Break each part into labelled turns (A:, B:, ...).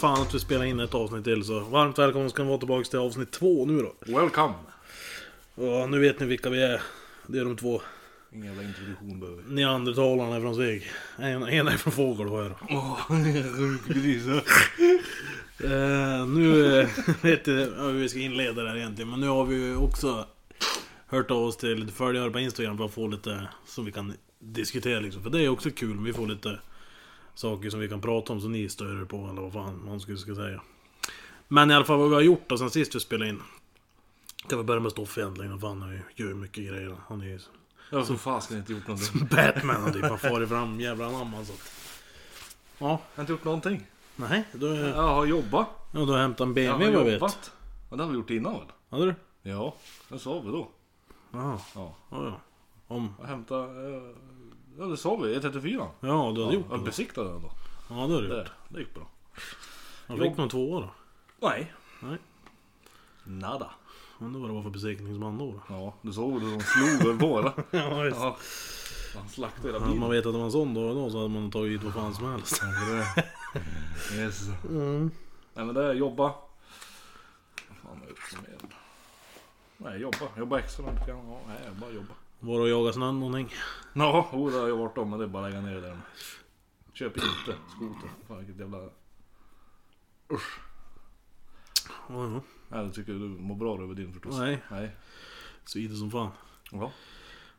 A: fan att vi spelar in ett avsnitt till så varmt välkomna ska ni vara tillbaka till avsnitt två nu då.
B: Welcome!
A: Och nu vet ni vilka vi är. Det är de två
B: Ingen jävla introduktion behöver vi.
A: neandertalarna från Sveg. En, en är från Fågelsjö. då. Eh, nu eh, vet jag hur vi ska inleda det här egentligen men nu har vi ju också hört av oss till lite följare på Instagram för att få lite som vi kan diskutera liksom. För det är också kul om vi får lite saker som vi kan prata om som ni stör er på eller vad fan man skulle ska säga. Men i alla fall vad vi har gjort då sen sist vi spelade in. Kan vi börja med Stoffe egentligen, han fan, han gör ju mycket grejer. Han är ju
B: Jag har för fasken inte gjort någonting.
A: Batman och typ, han far fram jävla anamma så att... Ja,
B: Jag har inte gjort någonting.
A: nej. Då,
B: Jag
A: ja,
B: har jobbat.
A: då hämtar han en
B: Jag har
A: BMW vad jag vet.
B: jobbat. Men det har vi gjort innan väl?
A: Hade du?
B: Ja, det sa vi då.
A: Jaha.
B: Ja.
A: Ja, ja. Om...
B: Jag hämtade... eh, Ja, det sa vi. E34.
A: Ja, du hade
B: Ja,
A: gjort
B: jag
A: det.
B: besiktade den då.
A: Ja, det hade du gjort.
B: Det, det gick bra.
A: Han fick någon tvåa då.
B: Nej.
A: Nej.
B: Nada.
A: Undrar vad det var för besiktningsman då. då.
B: Ja, du såg det. De slog väl bara.
A: Ja, visst.
B: Ja. Han slaktade hela
A: Hade man
B: bilen.
A: vetat att det var en sån då, då så hade man tagit vad fan som helst.
B: Yes. Mm. Nej men det är jobba. Vad fan är det som är det? Nej jobba, jobba extra om jag kan. Ja, nej, bara jobba.
A: Var det att jaga snön någonting?
B: Ja, jo, det har jag varit om men det är bara att lägga ner den. Köp inte skoter. Fan vilket jävla...
A: Ja, ja.
B: Nej det tycker jag du mår bra över din förstås.
A: Nej.
B: Nej.
A: Svider som fan.
B: Ja.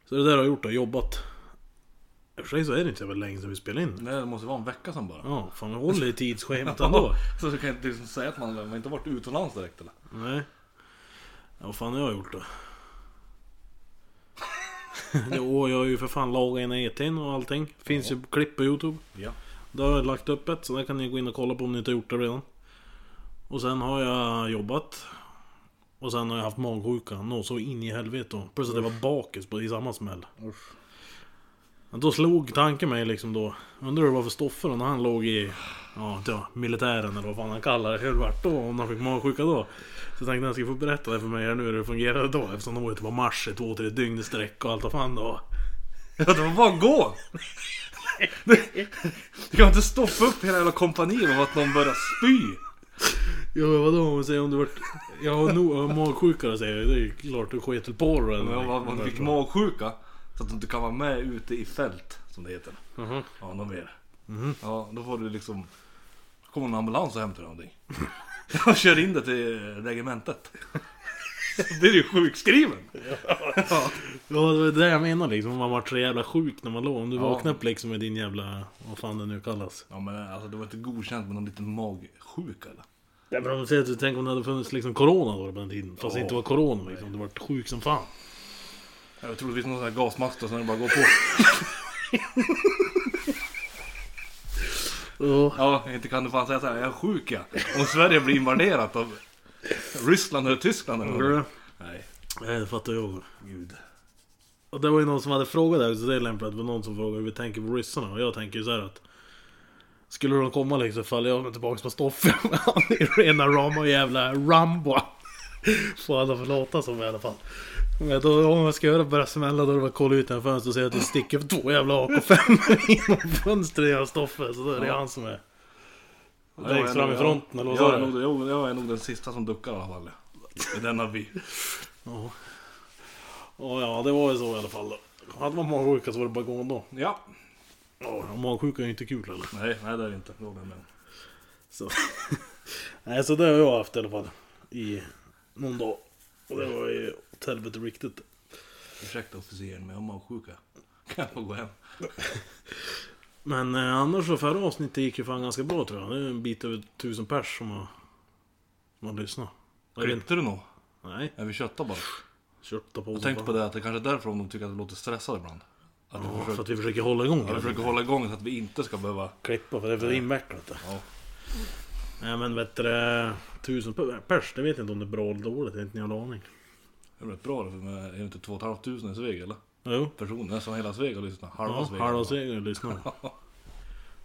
A: Så det där har jag gjort då, jobbat. I och för sig så är det inte så jävla länge sedan vi spelade in.
B: Nej det måste vara en vecka sedan bara.
A: Ja, fan jag håller i tidsschemat ändå.
B: Så du kan inte liksom säga att man, man inte varit utomlands direkt eller?
A: Nej. Ja, vad fan har jag gjort då? jo, jag har ju för fan lagat in ETn och allting. Finns ju klipp på Youtube.
B: Ja.
A: Där har jag lagt upp ett, så där kan ni gå in och kolla på om ni inte har gjort det redan. Och sen har jag jobbat. Och sen har jag haft magsjuka, nå så in i helvete. då. Plus att jag var bakis på, i samma smäll.
B: Usch.
A: Men Då slog tanken mig liksom då. Undrar hur det var för Stoffe då när han låg i ja, inte jag, militären eller vad fan han kallar det. Hur det vart då om han fick magsjuka då. Så jag tänkte att han skulle få berätta det för mig här nu hur det fungerade då. Eftersom de var ute på marsch i två, tre dygn i sträck och allt vad fan då.
B: Ja, det var bara att gå! Du, du kan inte stoppa upp hela jävla kompaniet av att någon börjar spy!
A: Jo vadå om vi säger om du vart... Jag har nog magsjuka då säger jag. Det är ju klart du sket väl på dig.
B: Men jag var, man fick magsjuka så att du inte kan vara med ute i fält, som det heter.
A: Mhm.
B: Ja, något mer. Ja, då får du liksom... kommer en ambulans och hämtar någonting. Jag kör in det till regementet. Så blir du sjukskriven! Ja.
A: Ja det var det där jag menade liksom. Man vart så jävla sjuk när man låg. Om du
B: Ja.
A: vaknade upp liksom med din jävla... Vad fan det nu kallas.
B: ja, men alltså det var inte godkänt med någon liten magsjuka eller?
A: Ja, men om du säger att du tänker om det hade funnits liksom corona då på den tiden. Fast det
B: Ja.
A: inte var corona liksom. Du vart sjuk som fan.
B: Ja, Jag tror det finns någon sån här gasmask då, som det bara går på.
A: Ja.
B: Ja, inte kan du fan säga såhär, jag är sjuk ja. Om Sverige blir invaderat av Ryssland eller Tyskland eller något. Nej,
A: Nej, det Eh, fattar jag.
B: gud.
A: Och det var ju någon som hade frågat där, så det är lämpligt att det var någon som frågade hur vi tänker på ryssarna. Och jag tänker ju så här att... Skulle de komma liksom faller jag tillbaka på Stoffe. Han är rena rama och jävla Rambo. Får alla förlåta som i alla fall. Men då, om jag ska göra börja smälla då är det bara att kolla ut genom fönstret och se att det sticker upp två jävla AK5 genom fönstret genom Stoffe. Så då är det
B: Ja.
A: han som är
B: Ja, jag är
A: längst fram i
B: nog-
A: fronten eller vad
B: jag,
A: sa
B: är
A: du?
B: nog, jag, jag är nog den sista som duckar i alla fall. I denna by.
A: Ja. Ja, ja, det var ju så i alla fall. då. Hade man magsjuka så var det bara att gå ändå.
B: Ja.
A: Ja, magsjuka är ju inte kul heller.
B: Nej, nej det är det inte. Det håller jag med om.
A: Så. Nej, så det har jag haft i alla fall. I någon dag. Och det var ju åt helvete riktigt.
B: Ursäkta officeren, men jag har magsjuka. Kan jag få gå hem?
A: Men eh, annars så förra avsnittet gick ju fan ganska bra tror jag. Det är en bit över tusen pers som har, som har lyssnat. Jag vet inte.
B: Klippte du nog?
A: Nej,
B: Är vi köttar bara?
A: köpta på
B: Jag
A: som
B: tänkte
A: fan.
B: på det att det kanske är därför de tycker att det låter stressade ibland. Att vi
A: Ja, för
B: försöker,
A: att vi försöker hålla igång.
B: att vi försöker hålla igång så att vi inte ska behöva...
A: Klippa, för det är för invecklat.
B: Ja.
A: Nej men vet du, det, tusen pe- pers, det vet jag inte om det är bra eller dåligt. Jag har inte en jävla aning.
B: Det är rätt bra det, för med, är det inte 2 500 i Sveg eller?
A: Jo,
B: Personer som hela Sveg har lyssnat. Halva
A: Ja,
B: Sveg.
A: halva segern lyssnar.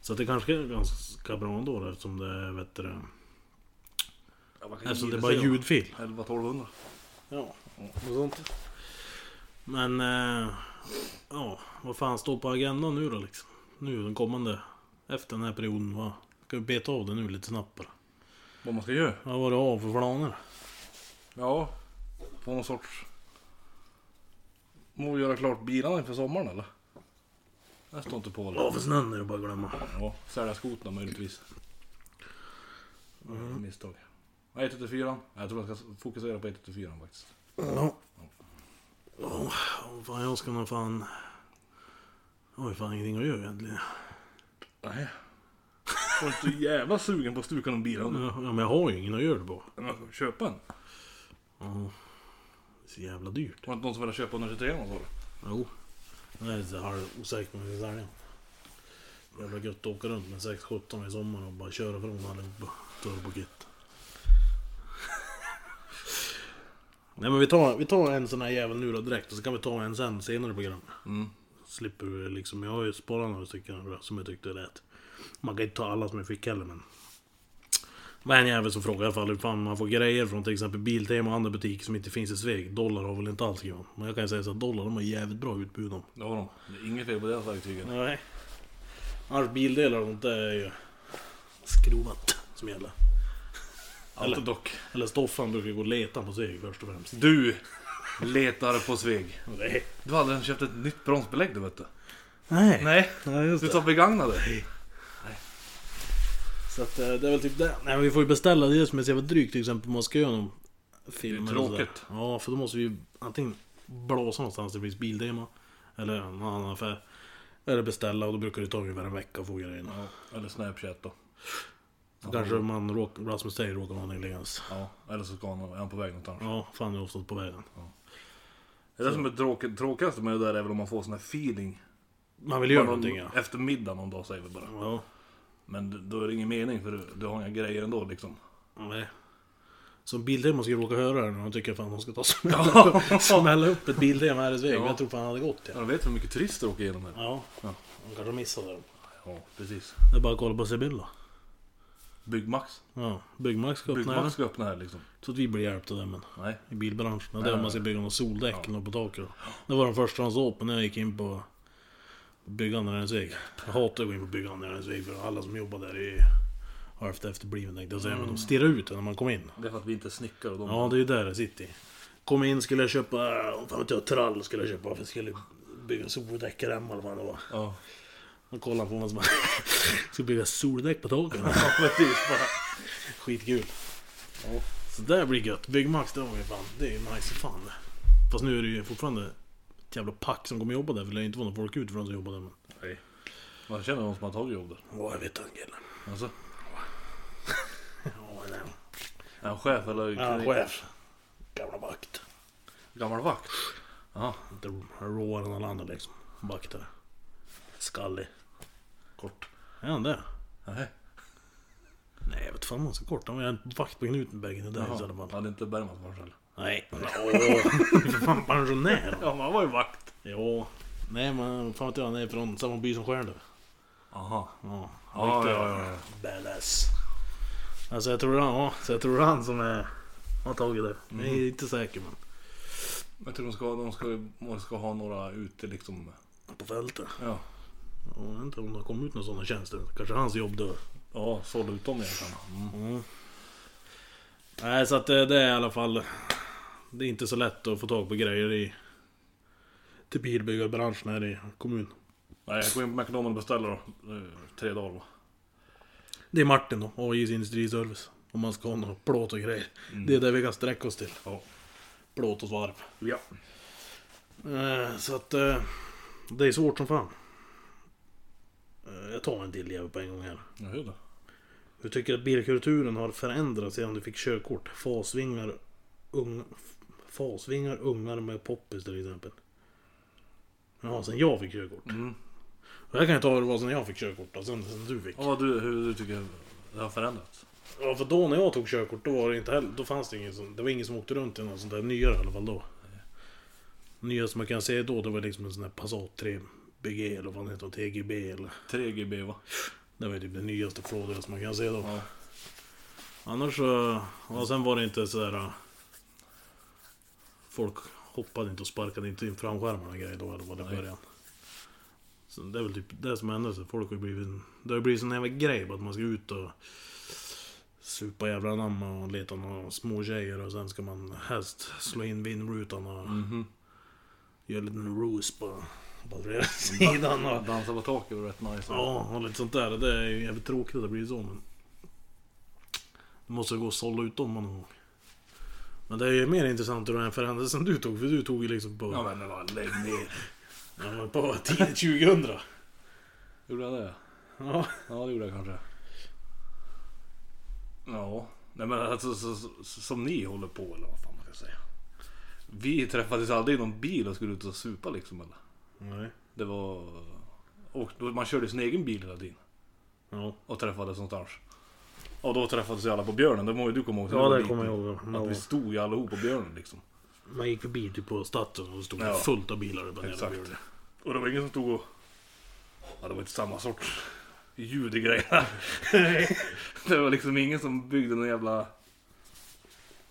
A: Så att det kanske är ganska bra ändå då, eftersom det är vet du,
B: Ja, vad kan
A: Eftersom det
B: det
A: är bara
B: säga?
A: ljudfil.
B: 11-1200.
A: Ja, och sånt. Men eh, ja, vad fan står på agendan nu då liksom? Nu den kommande, efter den här perioden va? Ska vi beta av det nu lite snabbt bara?
B: Vad man ska göra.
A: Vad var det av för planer?
B: Ja. På någon sorts... Må göra klart bilarna inför sommaren eller? Jag står inte på det.
A: Av för snön är det bara att glömma.
B: Ja, sälja skoterna möjligtvis. Mm. Misstag. Ja, 184. Jag tror jag ska fokusera på 184 faktiskt.
A: Ja. Åh, fan, jag ska nog fan... Jag har ju fan ingenting att göra egentligen.
B: Nej. Jag är så jävla sugen på att stuka någon bil nu.
A: Ja, men jag har ju ingen att göra det på.
B: Men jag ska Köpa en.
A: Ja. Det är så jävla dyrt.
B: Var det inte någon som ville köpa 123 någon sa du?
A: Jo. Jag är så här osäker på om jag ska sälja. Jävla gött att åka runt med 6-17 i sommar och bara köra från allihopa. Turbokit. Nej men vi tar, vi tar en sån här jävel nu då direkt och så kan vi ta en sen senare i programmet.
B: Mm.
A: Slipper vi liksom, jag har ju sparat några stycken då, som jag tyckte lät. Man kan inte ta alla som jag fick heller men. Det var en jävel som frågade i alla fall hur fan man får grejer från till exempel Biltema och andra butiker som inte finns i Sveg. Dollar har väl inte alls skrivit om. Men jag kan ju säga så att dollar de har jävligt bra utbud om.
B: Det har de. Det är inget fel på deras verktygen.
A: Nej. Annars bildelar och sånt där är ju skrovat som gäller.
B: Allt dock.
A: Eller Stoffan brukar ju gå och leta på Sveg först och främst.
B: Du letar på Sveg.
A: Nej.
B: Du har aldrig köpt ett nytt bromsbelägg du vet du.
A: Nej.
B: Nej.
A: Nej just
B: Du
A: det.
B: tar begagnade.
A: Så att, eh, det är väl typ det. Nej men vi får ju beställa det som är så jävla drygt till exempel. Man ska göra någon film
B: Det är
A: eller sådär.
B: tråkigt.
A: Ja för då måste vi ju antingen blåsa någonstans det finns bildema. Eller någon annan affär. Eller beställa och då brukar det ta ungefär en vecka att få grejerna.
B: Ja, eller Snapchat då.
A: Så kanske man råkar, Rasmus Day råkar vara intelligens.
B: Ja, eller så ska han, är han på väg någonstans.
A: Ja, fan jag har stått på vägen.
B: Det är det som är tråkigt, tråkigaste med det där är väl om man får sån här feeling.
A: Man vill göra
B: Bara
A: någonting ja.
B: någon, efter middag någon dag säger vi bara.
A: Ja,
B: Men d- då är det ingen mening för du, du har inga grejer ändå liksom.
A: nej. Som bildema skulle råka höra det nu. Jag tycker fan de ska ta och smälla,
B: Ja.
A: upp- smälla upp ett bildema här i Sveg.
B: Ja.
A: men Jag tror fan han hade gått ja.
B: Ja, du vet hur mycket turister åker igenom här.
A: Ja,
B: Ja.
A: de kanske missade det.
B: Ja, precis.
A: Det är bara att kolla på Sibylla.
B: Byggmax.
A: Ja, Byggmax ska öppna
B: Byggmax
A: Byggmax.
B: ska öppna här liksom.
A: Så att vi blir hjälpta där men.
B: Nej.
A: I bilbranschen. Det är
B: Nej,
A: där
B: nej,
A: man ska bygga någon soldäck eller något på taket. då. Det var den första han såg på när jag gick in på Bygganderägens väg. Jag hatar att gå in på Bygganderägens väg för alla som jobbar där är halvt efterblivna tänkte jag säga. Men de stirrar ut en när man kommer in.
B: Det är för att vi inte är snickare och de...
A: Ja, det är ju där det sitter. Kom in skulle jag köpa, om fan vet jag, trall skulle jag köpa för jag skulle bygga soldäckremmar eller vad det var.
B: Ja.
A: Och kollade på mig som bara, ska bygga soldäck på taket.
B: Ja,
A: typ
B: precis. Bara.
A: Skitkul. Så där blir gött. Byggmax, det var ju fan, det är ju nice som fan det. Fast nu är det ju fortfarande ett jävla pack som kommer jobba där för det lär ju inte vara någon folk utifrån som jobbar där men...
B: Nej. Man känner någon som har tagit jobb där.
A: Åh, jag vet den killen.
B: Alltså,
A: Ja, nej.
B: är han chef eller?
A: Ja, han är chef. Gamla vakt.
B: Gammal vakt. Ja,
A: Inte råare än alla andra liksom. Vaktare. Skallig.
B: kort.
A: Är han det?
B: Nej.
A: Nej, jag vet fan om han är så kort. Han var ju en vakt på Knuten back in the days i alla fall.
B: Ja, det är inte Bergmans barn själv.
A: Nej. Åh, för fan pensionär.
B: Ja, man var ju vakt.
A: Ja. Nej, men fan vet jag. Han är från samma by som Stjärnlöv.
B: Aha.
A: Ja,
B: Ja,
A: riktigt
B: ja, ja, ja.
A: Badass. Alltså jag tror han, ja, så jag tror han som är, har tagit det. Jag
B: Mhm.
A: är inte säker men.
B: Jag tror de ska, de ska, de ska ha några ute liksom.
A: På fältet.
B: Ja,
A: Jag vet inte om det har kommit ut några sådana tjänster. Kanske hans jobb dör.
B: ja sålla ut dem egentligen. Mm.
A: Nej så att eh, det är i alla fall. Det är inte så lätt att få tag på grejer i. Till bilbyggarbranschen här i kommun.
B: Nej, jag går in på McDonalds och beställer då. Det är Tre dagar va?
A: Det är Martin då, AIs industriservice. Om man ska ha några plåt och grejer.
B: Mm.
A: Det är det vi kan sträcka oss till.
B: Ja.
A: Plåt och svarv.
B: Ja.
A: Eh, Så att eh, det är svårt som fan. Eh, Jag tar en till jävel på en gång här.
B: Ja, hur då?
A: Du tycker att bilkulturen har förändrats sedan du fick körkort? Fasvingar, unga, fasvingar ungar med poppis till exempel. Ja, sen jag fick körkort.
B: Mm.
A: Det här kan jag ta hur det var sen jag fick körkort och sen, sen du fick.
B: Ja, vad du, hur du tycker det har förändrats?
A: Ja, för då när jag tog körkort då var det inte heller, då fanns det ingen som, det var ingen som åkte runt i något sånt där nyare i alla fall då. Nya som man kan se då, det var liksom en sån där Passat 3 BG eller vad den heter, TGB eller.
B: 3GB va?
A: Det var ju typ det nyaste flådigaste man kan se då.
B: Ja.
A: Annars så, ja sen var det inte sådär... äh, Folk hoppade inte och sparkade inte in framskärmarna och grejer då eller vad det var i
B: Nej.
A: början. Så det är väl typ det som hände sig. Folk har ju blivit... Det har ju blivit sån jävla grej bara att man ska ut och... supa jävla anamma och leta några små tjejer och sen ska man helst slå in vindrutan och
B: Mhm.
A: göra en liten roos på på sidan. Och,
B: Dansa på taket var rätt nice.
A: ja, och lite sånt där. Det är ju jävligt tråkigt att det blir så men... Du måste gå och sålla ut dem någon gång. Men det är ju mer intressant ur den här för händelsen du tog, för du tog ju liksom på...
B: Ja men det var lägg ner.
A: Ja, men på tidigt 2000.
B: Gjorde han det?
A: Ja.
B: Ja det gjorde jag kanske. Ja. Nej men alltså så, så, som ni håller på eller vad fan man ska säga. Vi träffades aldrig i någon bil och skulle ut och supa liksom eller?
A: Nej.
B: Det var... Och då- man körde sin egen bil hela tiden.
A: Ja.
B: Och träffades någonstans. Och då träffades ju alla på björnen, det må ju du komma ihåg.
A: Ja,
B: var
A: det
B: dit.
A: kommer jag ihåg.
B: Att
A: Ja.
B: vi stod ju allihop på björnen liksom.
A: Man gick förbi typ på staden och det stod
B: Ja.
A: fullt av bilar uppe på den
B: Exakt.
A: jävla björnen.
B: Och det var ingen som stod och... Ja, det var inte samma sorts ljud i grejerna. det var liksom ingen som byggde någon jävla...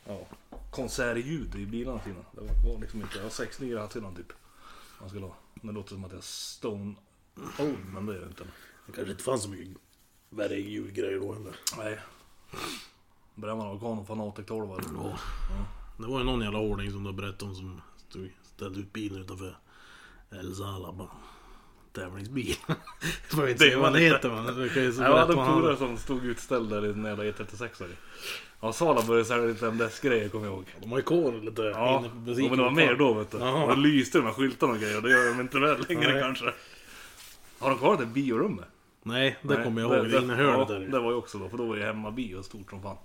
B: Ja, konsertljud i bilarna tiden. Det var- var liksom inte... Jag har sex nya hela tiden typ. Man skulle ha. Det låter som att jag är stone old, men det är det inte.
A: Det kanske inte fanns så mycket värre julgrejer då heller.
B: Nej. Bränna organ och fanatic 12 eller
A: Ja. Det var ju någon jävla ordning som du berättade om som stod, ställde ut bilen utanför El Salaba. Tävlingsbil. Jag vet inte
B: Det var
A: vad det
B: lite-
A: heter man. Du kan ju så
B: Jag hade
A: berätta
B: en
A: vad han
B: polare
A: hade.
B: som stod utställd där i en jävla E36. E Ja, Sala började sälja lite MDS-grejer kommer jag ihåg.
A: De har ju kol lite
B: Ja,
A: inne på
B: men
A: butiken.
B: det var mer då vet du.
A: Ja.
B: Då lyste de här skyltarna och grejer. Det gör de inte väl längre
A: Nej.
B: kanske. Har de kvar det biorummet?
A: Nej, det
B: Nej,
A: kommer jag ihåg. Det inne i hörnet
B: ja,
A: där.
B: Det var ju också då, för då var ju hemmabio stort som fan.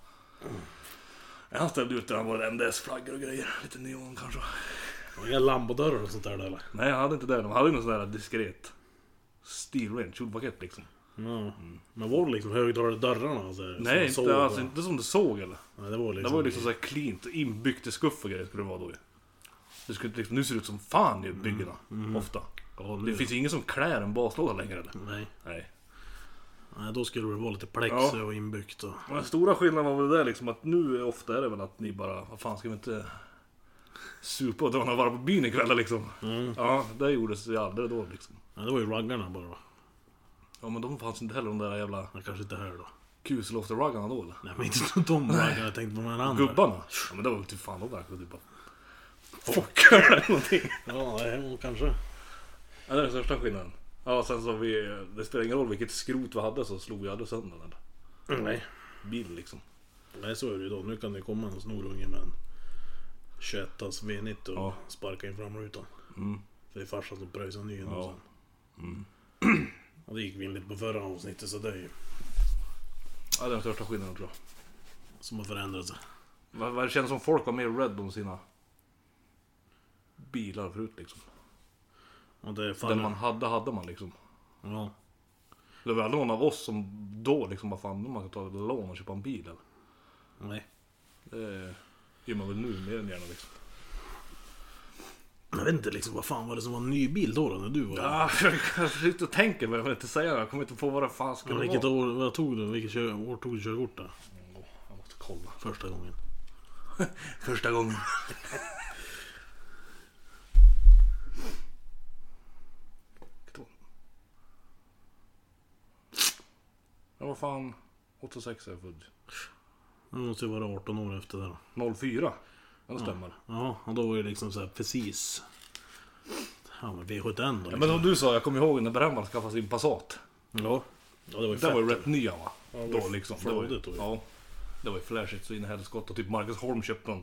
B: Han ställde ut där han var MDS-flaggor och grejer. Lite neon kanske.
A: Har Inga lambodörrar och sånt där eller?
B: Nej, han hade inte det. De hade ju någon sån där diskret steel range, kjolpaket liksom.
A: Ja. Men var det liksom högtalare i dörrarna? Så här, som man
B: Nej,
A: såg
B: inte, alltså,
A: och-
B: inte som du såg eller?
A: Nej, det var liksom...
B: Det var ju liksom såhär cleant, inbyggt i skuff och grejer skulle det vara då ju. Det skulle, liksom, nu ser det ut som fan i byggena,
A: Mm,
B: ofta.
A: Ja,
B: Det
A: nu-
B: finns ju ingen som klär en baslåda längre eller?
A: Nej.
B: Nej.
A: Nej, då skulle det vara lite plexi
B: Ja.
A: och inbyggt och...
B: Men den stora skillnaden var väl det där liksom att nu är- ofta är det väl att ni bara, vad fan ska vi inte supa och dra några varv på byn ikväll liksom?
A: Mm.
B: Ja, det gjordes ju aldrig då liksom.
A: Ja, det var ju raggarna bara. va?
B: Ja men de fanns inte heller de där jävla
A: Ja, Kanske inte här då.
B: kuselofter-raggarna då eller?
A: Nej, men inte de raggarna. Jag tänkte på de här andra.
B: Gubbarna? Ja men det var väl typ fan de där kunde typ bara... Fuck eller någonting.
A: Ja, nej, och kanske.
B: Ja, det är den största skillnaden. Ja, sen så vi, det spelar ingen roll vilket skrot vi hade så slog vi aldrig sönder den där
A: Nej.
B: bilen liksom.
A: Nej, så är det ju då. Nu kan det komma en snorunge med en 21 V90 och
B: Ja.
A: sparka in framrutan.
B: Mm.
A: Det är farsan som pröjsade ny
B: Ja.
A: ja. sen. Och det gick vinnligt på förra avsnittet så det är ju
B: Ja, det är den största skillnaden tror jag.
A: som har förändrat sig.
B: Vad- vad Det känns som folk var mer rädd om sina bilar förut liksom.
A: Och det
B: Den
A: faller...
B: man hade, hade man liksom.
A: Ja.
B: Det var aldrig någon av oss som då liksom bara fan, man kan ta ett lån och köpa en bil eller?
A: Nej.
B: Det gör man väl nu mer än gärna liksom.
A: Jag vet inte liksom, vad fan var det som var en ny bil då, då när du var
B: Ja, jag sitter och tänker men jag vill inte säga det. Jag kommer inte på vad det fan skulle
A: Men
B: vara.
A: vilket år, vad tog du? Vilket kör, år tog du körkort då?
B: Åh, Jag måste kolla.
A: Första gången.
B: Första gången. Jag var fan 86 är jag född.
A: Det måste ju vara 18 år efter det då.
B: 04. Ja, det stämmer.
A: Ja, och då var det liksom så här precis... Ja men V71 då
B: Ja,
A: liksom.
B: men som du sa, jag kommer ihåg när Brännvall skaffade sin Passat.
A: Ja. Ja det var ju
B: Den
A: fett.
B: var ju rätt ny va?
A: det
B: Då
A: var
B: liksom.
A: flödigt då ju.
B: ja. Det var ju flashigt så in i helskotta. Typ Marcus Holm köpte en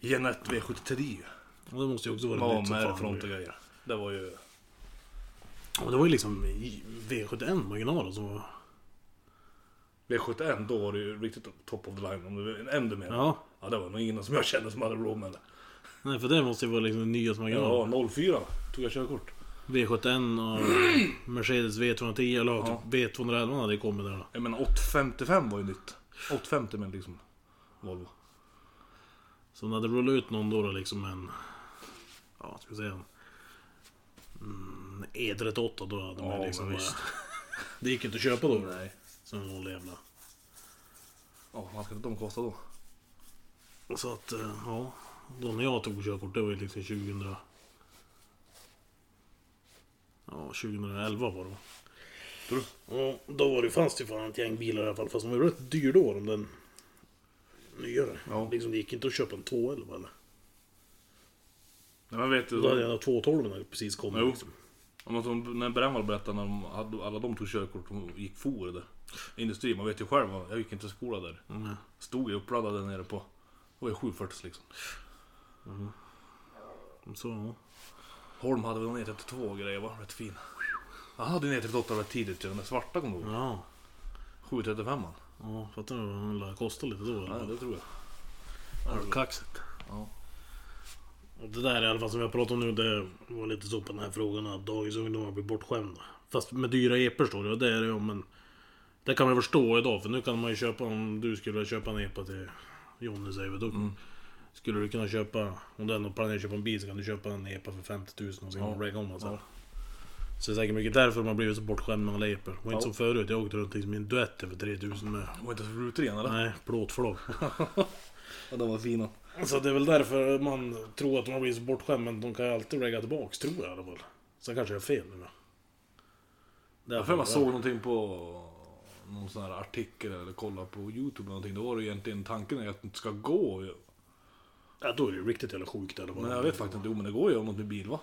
B: Genette V73.
A: Och det måste ju också vara
B: Ja,
A: nytt som
B: med
A: fan.
B: front och grejer. Det var ju...
A: Och det var ju liksom i- V71 marginalen som var...
B: V71, då var det ju riktigt top of the line. Om du vill ännu mer.
A: Ja.
B: Ja, det var nog ingen som jag kände som hade råd med det.
A: Nej för det måste ju vara liksom den nyaste marginalen.
B: Ja, 04 tog jag körkort.
A: V71 och Mercedes V210 eller
B: Ja.
A: typ V211 hade ju kommit där då.
B: Jag menar 855 var ju nytt. 850 men liksom Volvo.
A: Så när det rullade ut någon då, då liksom en... Ja, ska vi säga en... Mm, E38 då hade man
B: Ja,
A: ju liksom
B: men
A: bara...
B: visst.
A: Det gick ju inte att köpa då.
B: Nej.
A: Som en vanlig jävla...
B: Ja, vad ska de kosta då?
A: Så att, eh, ja. Då när jag tog körkort, det var ju liksom 2000... Ja, 2011 var det va?
B: Fattar du?
A: Och då var det, fanns det ju fan ett gäng bilar i alla fall. Fast de var ju rätt dyr då, de den nyare.
B: Ja.
A: Liksom, det gick inte att köpa en 211 eller?
B: Nej, men vet du,
A: Då hade jag nog 212 när det precis kom.
B: Jo.
A: Liksom.
B: om att de, när Brännvall berättade när de, hade- alla de tog körkort och gick for där. Industri, man vet ju själv. Jag gick inte i skola där.
A: Mm.
B: Stod ju uppladdad där nere på... Det var ju 740 liksom.
A: Så, ja.
B: Holm hade väl en E32 och grejer va? Rätt fin. Han hade en E38 rätt tidigt ju. Den där svarta kommer du ihåg?
A: ja.
B: 735 man.
A: Ja, fattar du vad den lär kosta lite då?
B: Ja,
A: Eller?
B: det tror jag.
A: Ja, kaxigt.
B: Ja.
A: Och det där i alla fall som jag pratat om nu, det var lite så på den här frågan att dagens ungdomar blir bortskämda. Fast med dyra epor står det, och det är det ju. Men det kan man ju förstå idag, för nu kan man ju köpa, om du skulle köpa en epa till Jonny säger vi då.
B: Mm.
A: Skulle du kunna köpa, om du ändå planerar att köpa en bil så kan du köpa en epa för 50 000 och så kan
B: Ja.
A: man regga om den sen.
B: Ja.
A: Så det är säkert mycket därför man blivit så bortskämd med alla epor. Och inte
B: Ja.
A: som förut, jag åkte runt i min Duett för 3000 med
B: De var inte så rutor igen eller?
A: nej, plåtflak.
B: Ja, de var fina.
A: Så det är väl därför man tror att de har blivit så bortskämda, men de kan ju alltid regga tillbaks, tror jag i alla fall. Sen kanske jag har fel nu.
B: Jag för man såg någonting på någon sån här artikel eller kolla på YouTube eller någonting. Då var det egentligen tanken är att det inte ska gå.
A: Ja, då är det ju riktigt jävla sjukt eller vad.
B: Men jag vet faktiskt inte. Jo men det går ju om något med bil va?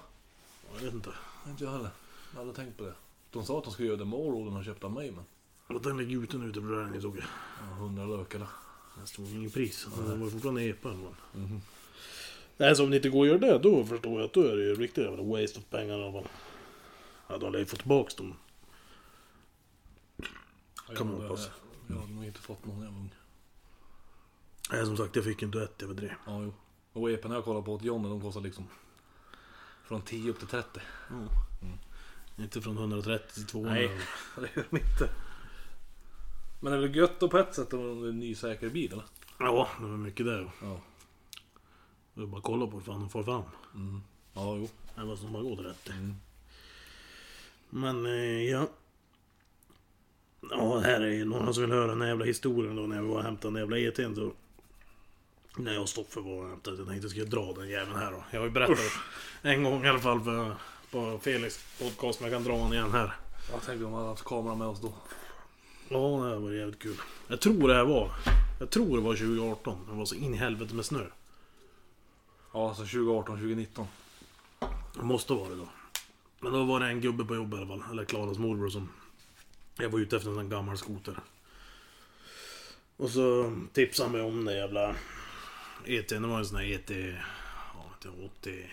A: Jag vet inte.
B: Inte jag heller. Jag hade tänkt på det. De sa att de skulle göra det med Åråden de köpte av mig men.
A: Och den ligger ute nu till bröderna, såg jag.
B: Ja, Hundra lökarna.
A: Det stod ingen pris. Den var fortfarande epa. Men... Mhm. Nej, så om det inte går att göra det, då förstår jag att då är det ju riktigt jävla waste of pengar i alla fall. Ja, då hade jag ju fått tillbaks dem. Kan man
B: Jag-
A: hoppas.
B: Jag har nog inte fått någon jävla ung.
A: Nej, som sagt, jag fick en duett över det.
B: Ja jo. Och epen jag kollar på åt Johnny de kostar liksom. Från 10 upp till 30.
A: Mm. Inte från 130 till 200.
B: Nej, det gör de inte. Men det är väl gött då på ett sätt om det är en ny säker bil eller?
A: Ja, det var mycket där.
B: Ja.
A: Det är bara att kolla på hur fan de får fram.
B: Mm. Ja jo.
A: Det var som bara går rätt.
B: Mm.
A: Men eh, ja. Ja, här är ju någon som vill höra den här jävla historien då när vi var och hämtade den jävla ET'n. Så... När jag och Stoffe var och hämtade den. Jag tänkte jag skulle dra den jäveln här då. Jag har ju berättat en gång i alla fall på, på Felix podcast. Men jag kan dra den igen här.
B: Jag tänkte om vi hade haft kameran med oss då.
A: Ja, det här var jävligt kul. Jag tror det här var. Jag tror det var 2018. Det var så in i helvete med snö.
B: Ja, alltså 2018, 2019.
A: Det måste vara det då. Men då var det en gubbe på jobbet i alla fall, eller Klaras morbror som... Jag var ute efter en sån gammal skoter. Och så tipsade han mig om det jävla... ET, det var en sån här ET... Ja, inte 80...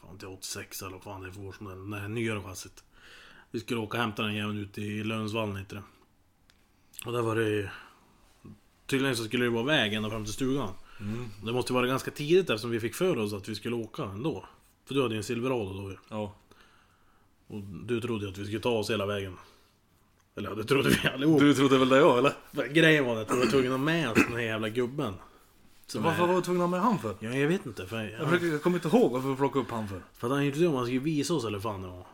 A: Fan inte 86 eller vad fan det är för årsmodell. Det här nyare chassit. Vi skulle åka och hämta den jäveln ute i Lönsvallen heter det. Och där var det... Tydligen så skulle det vara väg ända fram till stugan. Det måste ju vara ganska tidigt eftersom vi fick för oss att vi skulle åka ändå. För du hade ju en Silverado då ju.
B: Ja.
A: Och du trodde ju att vi skulle ta oss hela vägen. Eller ja, det trodde vi allihop.
B: Du trodde väl det jag eller?
A: Men Grejen var att vi var tvungna att ha med oss den här jävla gubben. Som
B: varför
A: är-
B: var du tvungen att ha med han för?
A: Ja, jag vet inte. För,
B: Jag,
A: jag,
B: försöker, jag kommer inte ihåg varför vi plockade upp han för.
A: för att han gjorde det om han skulle visa oss eller fan det var.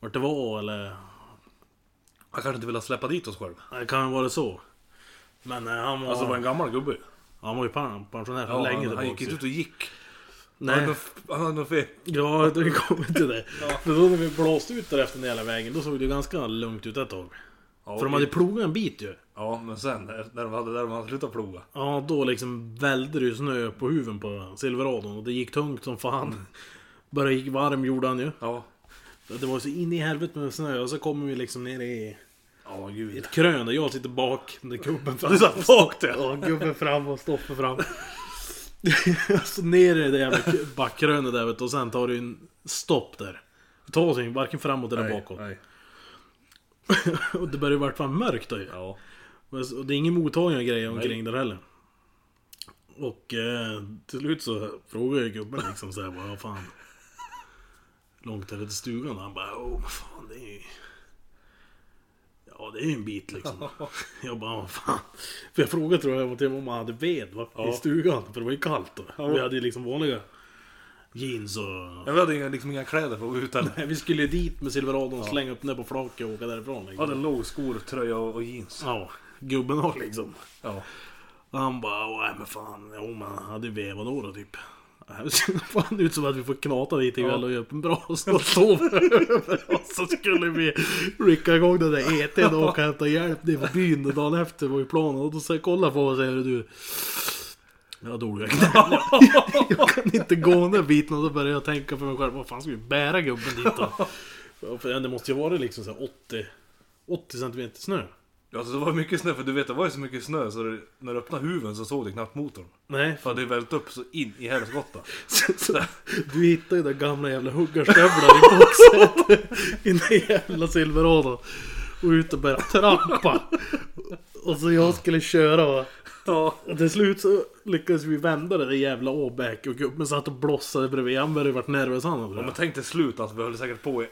A: Vart det var eller...
B: Han kanske inte ville släppa dit oss själv.
A: Det kan ju vara så. Men eh, han var...
B: Alltså det var en gammal gubbe.
A: Han var ju pen- pensionär för länge
B: han, han
A: tillbaka.
B: gick inte ut och gick. Han hade
A: Nej.
B: nog f- Han hade nog fel.
A: Ja, det kom till det. För då när vi blåste ut där efter den hela vägen, då såg det ganska lugnt ut ett tag.
B: Ja,
A: För de hade plogat en bit ju.
B: ja men sen när när de hade, när de hade slutat ploga.
A: Ja, då liksom välde det ju snö på huven på Silveradon och det gick tungt som fan. Bara gick varm gjorde han ju.
B: Ja.
A: Det var så in i helvete med snö och så kommer vi liksom ner i
B: Ja gud.
A: ett krön där jag sitter bak. Där gubben fram. Du satt bak där? Ja, gubben fram och Stoffe fram. så ner i det jävla backkrönet där vet du, och sen tar du en stopp där. Det tar sig varken framåt eller bakåt.
B: nej.
A: Och det börjar ju vart fan mörkt då ju.
B: Ja.
A: Men så- Och det är ingen mottagning och grejer omkring
B: Nej.
A: där heller. Och eh, till slut så frågar jag gubben liksom såhär bara, vad fan. Hur långt är det till stugan? Och han bara, åh vad fan det är ju... Ja det är ju en bit liksom. Jag bara, vad fan. För jag frågade tror jag till om han hade ved va,
B: Ja.
A: i stugan. För det var ju kallt då. Vi hade ju liksom vanliga jeans och...
B: Jag hade inga, liksom inga kläder för att vara ute heller.
A: Vi skulle ju dit med Silveradon och slänga upp den där på flaket och åka därifrån.
B: Jag
A: Liksom.
B: hade lågskor, tröja och, och jeans.
A: Ja, gubben har liksom.
B: Ja.
A: Och han bara, "Åh, nej men fan, jo men han hade ju vevat då då typ. Fan, det ut som att vi får knata dit ikväll och göra en bra och sova över oss. Så skulle vi rycka igång den där ET'n och åka och hämta hjälp ner på byn dagen efter var ju planen. Och då så kolla på oss och säger du. Jag har dåliga knän. Jag kan inte gå den där biten och då börjar jag tänka för mig själv. Vad fan ska vi bära gubben dit då? Ja, för Det måste ju vara liksom så här 80, 80 cm snö.
B: Ja, Alltså det var mycket snö, för du vet det var ju så mycket snö så det, när du öppnade huven så såg du knappt motorn.
A: Nej,
B: För det vält upp så in i helskotta.
A: Så, så, du hittar ju den gamla jävla huggarstövlar i boxet. I den jävla Silverado. Och ut och börja trampa. Och så jag skulle köra va.
B: Ja.
A: Och till slut så lyckades vi vända det där jävla åbäk och gubben satt och blossade bredvid. Han började ju varit nervös han.
B: Ja, men
A: Alltså.
B: tänk till slut alltså, vi höll säkert på i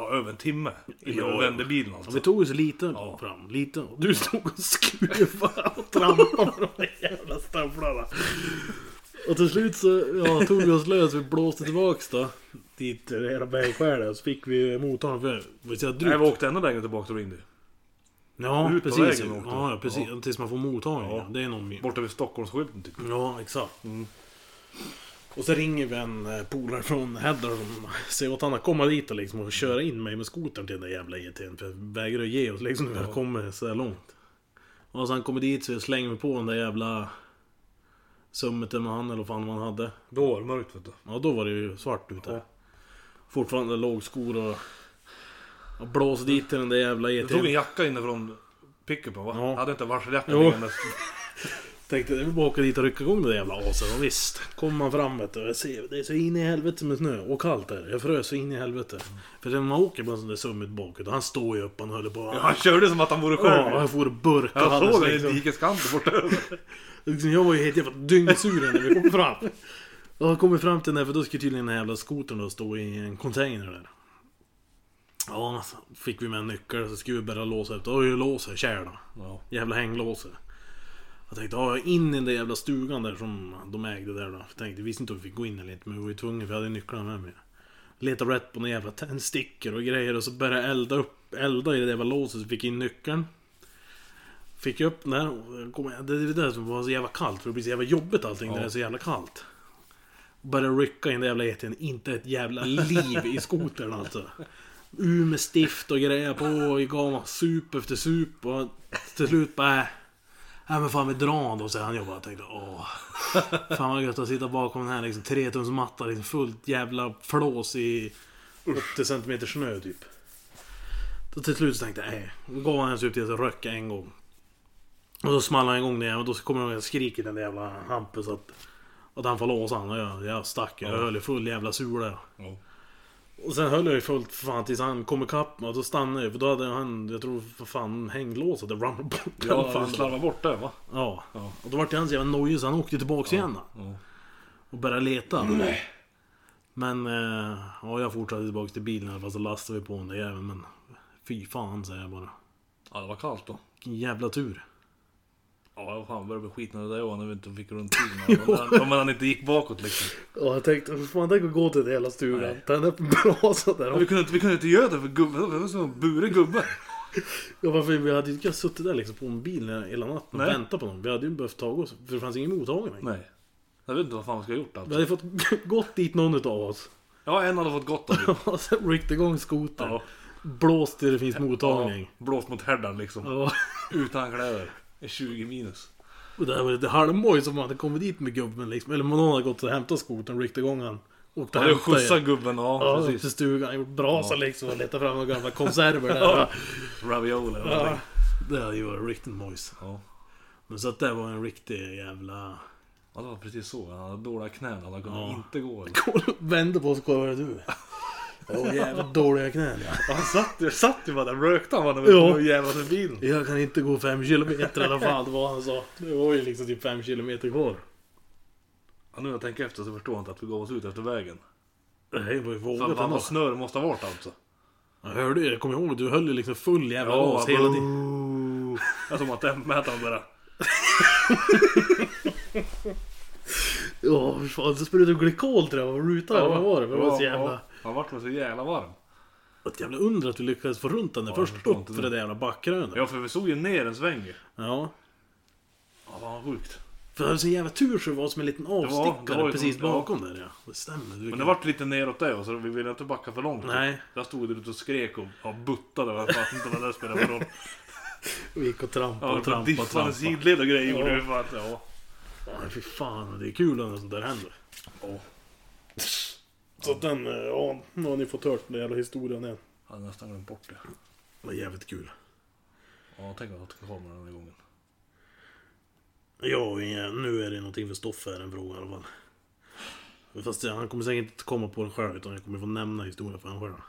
B: ja, över en timme innan
A: Ja,
B: vi
A: ja.
B: vände bilen
A: Ja,
B: alltså.
A: vi tog ju så lite fram. Lite. Och Du stod och skruvade och trampade med de där jävla stövlarna. Och till slut så ja, tog vi oss lös. Vi blåste tillbaks då. Dit det hela bergskäret. Så fick vi motorn för vi säger drygt.
B: Nej, vi åkte ännu längre tillbaka till ringde.
A: Ja,
B: Ut på
A: precis.
B: vägen åkte.
A: Ja, ja, precis. Tills man får mottagning.
B: Ja.
A: Det är någon mer.
B: Borta vid Stockholmsskylten typ.
A: Ja, exakt. Mm. Och så ringer vi en eh, polare från Heddar som säger åt han att komma dit och, liksom, och köra in mig med skotern till den där jävla ET'n. För jag vägrar att ge oss liksom när vi har kommit så här långt. Och så han kommer dit så slänger vi på den där jävla summeten med han eller vad fan man hade.
B: Då var det mörkt vet du.
A: Ja, då var det ju svart ute.
B: Ja.
A: Fortfarande låg skor och... och blås dit till den där jävla
B: Du tog en
A: ET'n.
B: jacka inifrån pickupen va?
A: Ja.
B: Hade inte varseljackan
A: Jo.
B: liggandes.
A: Tänkte jag vill bara åka dit och rycka igång det där jävla asen. Och visst, kommer man fram vet du, och jag ser det är så in i helvete med snö och kallt är det. Jag frös så in i helvete. För när man åker på en sån där summit bakåt, och han står ju upp, han höll på.
B: Han körde som att han vore själv.
A: Ja, jag får burka
B: Jag
A: alldeles
B: såg det i
A: liksom.
B: dikeskanten borta över.
A: liksom. Jag var ju helt jävla dyngsur när vi kom fram. Och jag kommer fram till den där, för då skulle tydligen den här jävla skotern då stå i en container där. Ja, så fick vi med en nyckel så skulle vi börja låsa efter. Oj, låser, kär då.
B: Ja.
A: Jävla hänglåset. Jag tänkte, ja, in i den där jävla stugan där som de ägde där då. Jag tänkte, jag visste inte om vi fick gå in eller inte, men vi var ju tvungna för jag hade nycklarna med mig. Letade rätt på några jävla tändstickor och grejer och så började jag elda upp, elda i det där jävla låset så fick jag in nyckeln. Fick jag upp den där och kom, det är det där som var så jävla kallt för det blir så jävla jobbigt allting när det är så jävla kallt. Började rycka in den jävla eten, inte ett jävla liv i skotern alltså. Ur med stift och grejer på och gav man sup efter sup och till slut bara... äh, Nej men fan vi drar då säger han. Jag bara tänkte åh. Fan vad gött att sitta bakom den här liksom tretumsmatta liksom fullt jävla flås i 80 cm snö typ. Så till slut så tänkte jag nej. Då gav han en sup till så röcka en gång. Och då small han igång det igen, och då kommer jag ihåg att jag skriker den där jävla Hampus att... Att han får låsa han och jag, jag stack. Jag höll i full jävla sula.
B: Ja.
A: Och sen höll jag ju fullt för fan tills han kom ikapp mig och då stannade jag för då hade han, jag tror för fan hänglåset hade ramlat bort.
B: Ja,
A: fan.
B: han slarvade bort det va?
A: ja.
B: Ja.
A: Och då vart jag så jävla nojig så han åkte tillbaks igen då.
B: Ja.
A: Och började leta. Men eh, ja, jag fortsatte tillbaks till bilen i alla fall så lastade vi på den där jäveln men fy fan säger jag bara.
B: Ja, det var kallt då.
A: Vilken jävla tur.
B: Ja, vad fan började bli skitnödig där Johan när vi inte fick runt bilen. Om han- Om han inte gick bakåt liksom.
A: Ja jag tänkte, hur fan tänk att gå till hela stugan. Tända upp en brasa där.
B: Men vi, kunde inte, vi kunde inte göra det för gubben, det var som buren gubbe.
A: Ja varför vi hade ju inte kunnat suttit där liksom på en bil hela natten och
B: Nej.
A: vänta på någon. Vi hade ju behövt ta oss, för det fanns ingen mottagning.
B: Nej. Jag vet inte vad fan vi ska ha gjort
A: Vi
B: alltså.
A: hade fått gått dit någon utav oss.
B: Ja, en hade fått gott av det.
A: Och sen ryckt igång skotern.
B: Ja.
A: Blåst till det finns mottagning.
B: Ja, blåst mot härdan liksom.
A: Ja.
B: Utan kläder. I 20 minus.
A: Och där var det ett halvmoj som hade kommit dit med gubben liksom. Eller någon hade gått och hämtat skotern, ryckt igång han. Och
B: Han hade skjutsat gubben, ja,
A: Ja, upp till
B: precis.
A: stugan, gjort brasa liksom och letat fram några gamla konserver där.
B: Ja. Ravioli eller någonting.
A: Det hade ju varit riktigt mojs.
B: Ja.
A: Men så att det var en riktig jävla...
B: ja, det var precis så. Han hade dåliga knän, han kunde
A: Ja.
B: inte gå. eller?
A: Kolla, vände på oss och kollade du. Åh jävligt dåliga knän ja.
B: Han satt ju, satt ju bara där, rökte han bara när
A: Ja.
B: vi jävlar till bilen.
A: Jag kan inte gå fem kilometer i alla fall, det var han sa. Det var ju liksom typ fem kilometer kvar.
B: Ja, nu när jag tänker efter så förstår jag inte att vi gav oss ut efter vägen.
A: Nej, var ju
B: Fan
A: vågat
B: vad
A: ändå.
B: vad snö det måste ha varit alltså.
A: Jag hörde ju, jag kommer ihåg, du höll ju liksom full jävla gas
B: bara,
A: hela tiden.
B: "Boo." Jag såg att tempmätaren bara...
A: Ja, för fan, så sprutade glykol tror jag, var rutan eller vad var det? Det var så jävla...
B: Han vart väl så jävla varm.
A: Ett jävla under att du lyckades få runt den där
B: Ja, jag
A: först
B: förstår
A: upp
B: inte
A: för
B: det.
A: det där jävla backkrönet.
B: Ja, för vi såg ju ner en sväng ju.
A: Ja.
B: Ja, fan vad sjukt.
A: För det var så jävla tur så det var som en liten
B: det
A: avstickare
B: var ju
A: precis
B: som- ja.
A: bakom där ja. Det stämmer. Du
B: Men
A: kan-
B: det vart lite neråt det, så vi ville inte backa för långt.
A: Nej.
B: Jag stod där ute och skrek och ja, buttade. Jag fattar inte vad det där spelar för roll.
A: Vi gick och trampade
B: Ja,
A: och
B: och
A: trampade och
B: diffade
A: trampade.
B: sidled och grejer gjorde
A: Ja.
B: vi. för att, Ja.
A: Ja, fy fan, det är kul när sånt där händer.
B: Ja.
A: Så att den, eh, ja, nu har ni fått hört den jävla historien igen.
B: Jag hade nästan glömt bort det.
A: Det var jävligt kul.
B: Ja, tänk att jag tog kameran den här gången.
A: Ja, eh, nu är det någonting för Stoffe är en fråga i alla fall. Fast eh, han kommer säkert inte komma på den själv utan jag kommer få nämna historien för honom själv.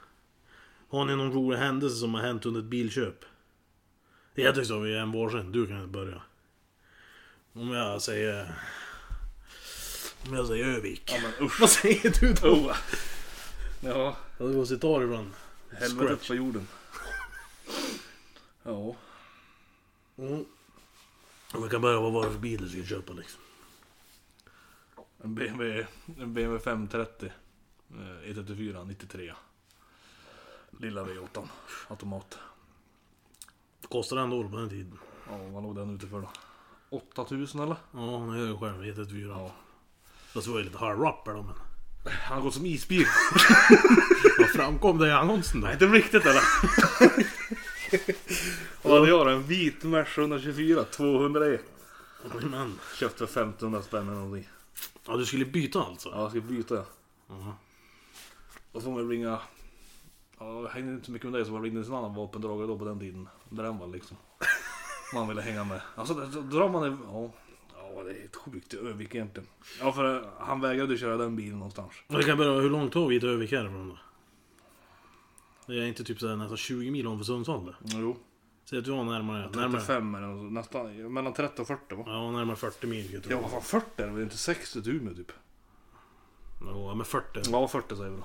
A: Har ni någon rolig händelse som har hänt under ett bilköp? Jag tycker så, vi är en varsin. Du kan börja. Om jag säger... Om jag säger Övik.
B: Ja, men usch.
A: Vad säger du då?
B: Oh. Ja,
A: Ja, det går att citera ibland.
B: helvetet på jorden. Ja.
A: Mm. Om vi kan börja, vad var det för bil du skulle köpa liksom?
B: En BMW, en BMW 530. eh, 134, 93. Lilla V8. Automat.
A: Kostade den då på den tiden?
B: Ja, vad låg den ute för då? 8000 eller?
A: Ja, nu är jag själv 114.
B: Ja.
A: Fast det var ju lite halvrapper då men...
B: Han går som isbil.
A: Vad framkom det i annonsen då?
B: Nej, inte riktigt eller? Vad hade jag då? En vit Merca 124, 201.
A: Men.
B: Köpt för 1500 spänn eller någonting.
A: Ja, du skulle byta alltså?
B: Ja, jag ska byta ja.
A: Mhm.
B: Och så får man ringa... Ja, jag hängde inte så mycket med dig så man ringde till en annan vapendragare då på den tiden. Där den var liksom. Man ville hänga med. Alltså då- då drar man... en- Ja, ja det är ett sjukt i Övik egentligen. Ja för eh, han vägrade köra den bilen någonstans.
A: Men Vi kan börja, hur långt har vi till Örnsköldsvik härifrån då? Det är inte typ såhär nästan 20 mil ovanför Sundsvall det.
B: Jo.
A: Säg att du har närmare... närmare
B: 35 eller något, nästan. Mellan 30 och 40 va?
A: ja, närmare 40 mil typ. jag
B: Ja
A: tror
B: vad fan 40 är det väl inte 60 till Umeå typ?
A: jag. Ja, men 40.
B: Ja 40 säger vi då.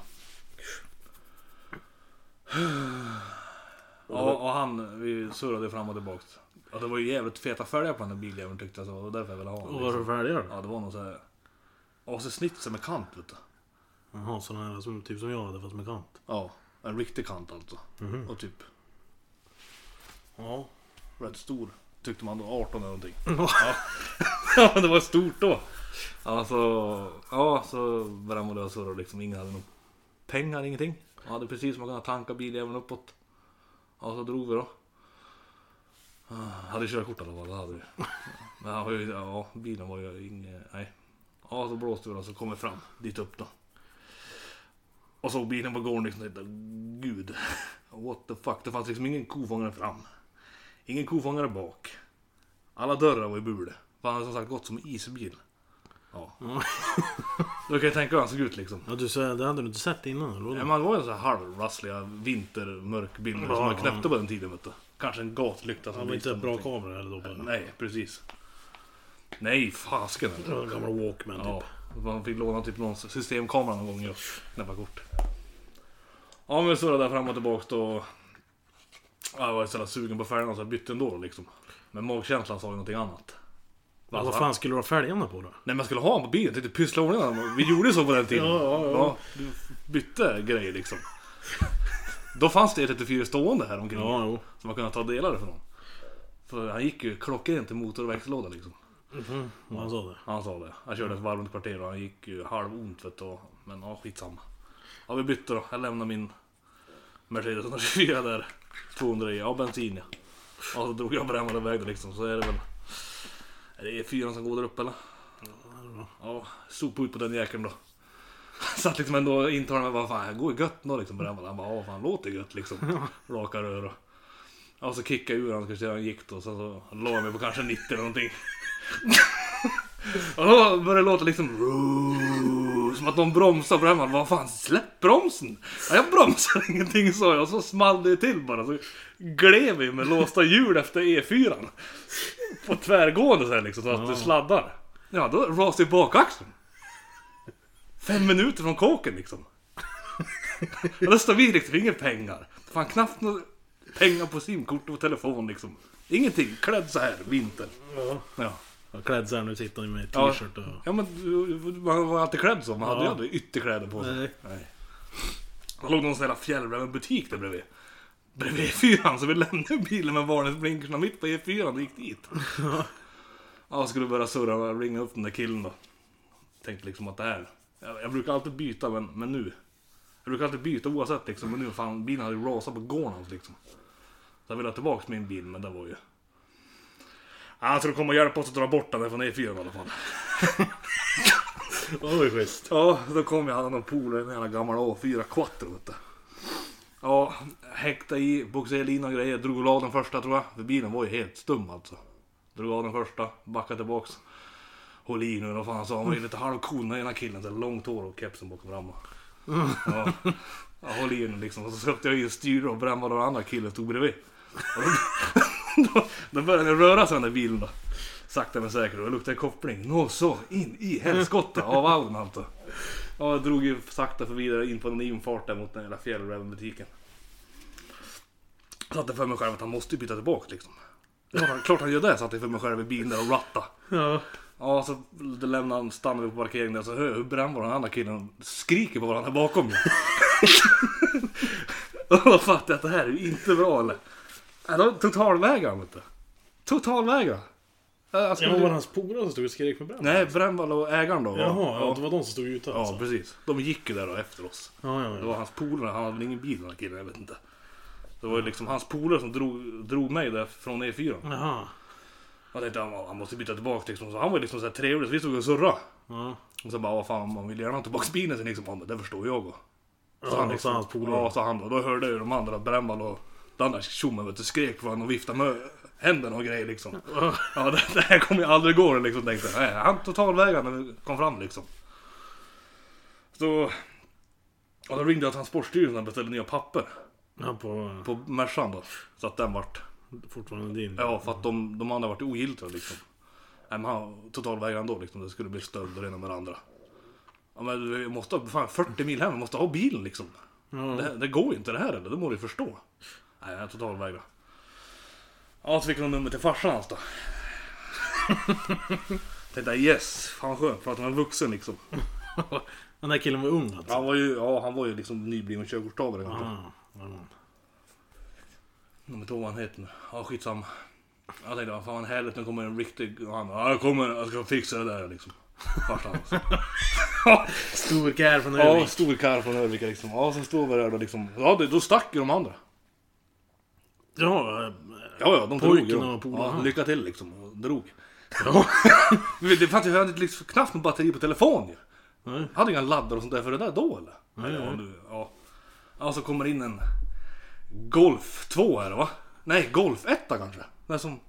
B: Ja och han, vi surrade fram och tillbaks. Ja, det var ju jävligt feta fälgar på den där biljäveln tyckte jag så det var därför jag ville ha den. liksom.
A: Och varför väljer du?
B: Ja det var någon såhär... AC-snitsel med kant vet du.
A: Jaha, sådana här som, typ som jag hade fast med kant.
B: Ja, en riktig kant alltså.
A: Mhm.
B: Och typ
A: Ja.
B: rätt stor. Tyckte man då, 18 eller någonting. Ja men det var stort då. Alltså, ja så brann och så då liksom ingen hade någon pengar, ingenting. Man hade precis man kunde tanka biljäveln uppåt. Ja så drog vi då. Ah, Hade körkort i alla fall, det hade vi. Men han var ju, ja bilen var ju ingen, nej. Ja så blåste vi då så kom vi fram dit upp då. Och såg bilen på gården liksom, tänkte, gud. What the fuck, det fanns liksom ingen kofångare fram. Ingen kofångare bak. Alla dörrar var i bule. För han hade som sagt gått som en isbil. Ja.
A: Mm.
B: Då kan jag tänka hur han såg ut liksom.
A: Ja, du sa, det hade du inte sett innan eller?
B: Ja,
A: vadå?
B: men han var ju så här halvrassliga vintermörkbilder
A: Ja,
B: som man
A: ja.
B: knäppte på den tiden vet du. Kanske en gatlykta som
A: Han var
B: lyste
A: inte bra
B: någonting.
A: kamera eller då bara.
B: Nej, precis. Nej, fasken
A: Det
B: eller?
A: var en gammal Walkman
B: Ja,
A: typ.
B: man fick låna typ någon systemkamera någon gång ju. Knäppa kort. Ja men vi surrade där fram och tillbaks då. Ja, Jag var så jävla sugen på färgerna så jag bytte ändå liksom. Men magkänslan sa ju någonting annat.
A: Ja, vad
B: Alltså,
A: fan skulle du ha fälgarna på då?
B: Nej man skulle ha honom på bilen, tänkte pyssla i ordning honom. Vi gjorde ju så på den tiden.
A: Ja, ja, ja.
B: du bytte grejer liksom. Då fanns det 34 stående här omkring.
A: Ja, jo.
B: Som man kunde ta delar från. För han gick ju klockrent till motor och växellåda liksom.
A: Ja, Han sa det.
B: Han sa det. Han körde ett varv runt kvarteret och han gick ju halvont vet du. Men ja, skitsamma. Ja, vi bytte då. Jag lämnade min Mercedes 124 där. 200 i. Ja, bensin ja. Ja, så drog jag brännaren iväg då liksom. Så är det väl... Är det E4 som går där uppe eller? Ja, sopa ut på den jäkeln då. Satt liksom ändå och intog mig bara fan, jag går ju gött då liksom. Brännaren. Han bara, ja fan låter gött liksom. Raka rör och... Ja, så kickade jag ur honom, kanske han gick då. Sen så la jag mig på kanske 90 eller någonting. Och då började det låta liksom Som att de bromsar på hemma. Vad fan, släpp bromsen! Ja, jag bromsar ingenting sa jag. Och så small det till bara. Så gled vi med låsta hjul efter E4. På tvärgående så här liksom, så att det sladdar. Ja, då rasade ju bakaxeln. Fem minuter från kåken liksom. Och då står vi liksom, inga pengar. Fan knappt några pengar på simkort och telefon liksom. Ingenting, klädd så här, vinter.
A: Ja.
B: Ja.
A: Ja, Klädseln, nu sitter ni med
B: Ja.
A: t-shirt och...
B: Ja men du- du- man var alltid klädd så, man hade ju
A: Ja.
B: aldrig ytterkläder på sig.
A: Nej.
B: Nej. Det låg någon sån jävla fjällrävenbutik där bredvid. E Bredvid E4 så vi lämnade bilen med varningsblinkerna mitt på E4 och gick dit. Ja. Ja, skulle börja surra och ringa upp den där killen då. Tänkte liksom att det här... Jag, jag brukar alltid byta, men, men nu... Jag brukar alltid byta oavsett liksom, men nu fan bilen hade ju rasat på gården liksom. Så jag ville ha tillbaka min bil, men det var ju... Ja, Han skulle komma och hjälpa oss att dra bort den där från E4 i alla fall.
A: Det var ju schysst.
B: Ja, då kom jag, han och polare, en jävla gammal A4 Quattro vet du. Ja, häktade i, boxerade linan och grejer, drog och la den första tror jag. För bilen var ju helt stum alltså. Drog av den första, backade tillbaks. Håll i nu, vad fan han sa, han var ju lite halvcool den ena killen, så här långt hår och kepsen bakom fram. Ja, ja, håll i nu liksom. Och så sökte jag i styr och brännbara den andra killen stod bredvid. Och då, då, då började den röra sig den där bilen då. Sakta men säkert och det luktade koppling. Nå så, in i helskotta av Auden alltså. Ja, jag drog ju sakta förbi där in på en infart där mot den jävla fjällrävenbutiken. Satte för mig själv att han måste ju byta tillbaka liksom. Det var, klart han gör det, satte jag för mig själv i bilen där och ratta.
A: Ja.
B: Ja, så lämnade han, stannade vi på parkeringen där så hör jag hur brännbar den andra killen skriker på varandra bakom mig. och då fattade jag att det här är ju inte bra eller? Ja, de totalvägrar vet du. Totalvägrar. Jag
A: Ja,
B: skulle-
A: men var det hans polare som stod och skrek på brand?
B: Nej, Brännvall och ägaren då. va?
A: Jaha, ja,
B: ja.
A: det var de som stod ute
B: Ja,
A: alltså?
B: precis. De gick ju där då efter oss.
A: Ja, ja,
B: Det
A: ja.
B: var hans polare, han hade väl ingen bil den här killen, jag vet inte. Det var ju liksom hans polare som drog, drog mig där från E4.
A: Jaha.
B: Jag tänkte han, han måste byta tillbaka liksom. Så han var ju liksom så här trevlig, så vi stod och surrade.
A: Ja.
B: Och så bara, vad fan, man vill gärna ha tillbaka bilen sen liksom. Han bara, det förstår jag. Och. liksom-
A: Ja, och så hans polare.
B: Ja, sa han då. Då hörde jag ju de andra, Brännvall och den andra tjommen vet du, skrek på honom och viftade med händerna och grejer liksom. Ja, det, det här kommer ju aldrig gå liksom, tänkte jag. Nej, han totalvägrade när vi kom fram liksom. Så... Och då ringde jag Transportstyrelsen och beställde nya papper
A: Ja, på...
B: på Mercan då. Så att den vart...
A: Fortfarande din.
B: Ja, för att de, de andra vart ogiltiga liksom. Nej men han totalvägrade ändå liksom. Det skulle bli stöld och det ena med det andra. Ja men vi måste ha fan 40 mil hem, vi måste ha bilen liksom.
A: Ja.
B: Det, det går ju inte det här eller? Det må du ju förstå. Nej, jag totalvägrade. Ja, så fick de nummer till farsan hans då. Tänkte yes, fan skönt. Prata med en vuxen liksom.
A: Den där killen var ung alltså?
B: Han var ju, ja, han var ju liksom nybliven körkortstagare. egentligen.
A: Ja, ja.
B: Nummer två vad han heter nu. Ja, skitsamma. Jag tänkte, vad fan härligt, nu kommer en riktig... Och han ja, jag kommer, jag ska fixa det där liksom. Farsan hans.
A: Stor karl från
B: Ja,
A: Örnsköldsvik.
B: stor karl från Örvika liksom. Ja, sen står vi där då liksom. Ja, det, då stack ju de andra.
A: Ja, eh,
B: Ja, ja, de
A: Pojken
B: drog ju.
A: och polaren.
B: Ja, lycka till liksom. Och drog.
A: ja.
B: Men vet du, Det fanns ju jag hade liksom knappt någon batteri på telefon ju.
A: Nej.
B: Hade inga laddare och sånt där för det där då eller?
A: Nej,
B: Eller,
A: nej.
B: ja, du, ja. ja, så kommer in en Golf 2 är det va? Nej, Golf 1 kanske? Den som...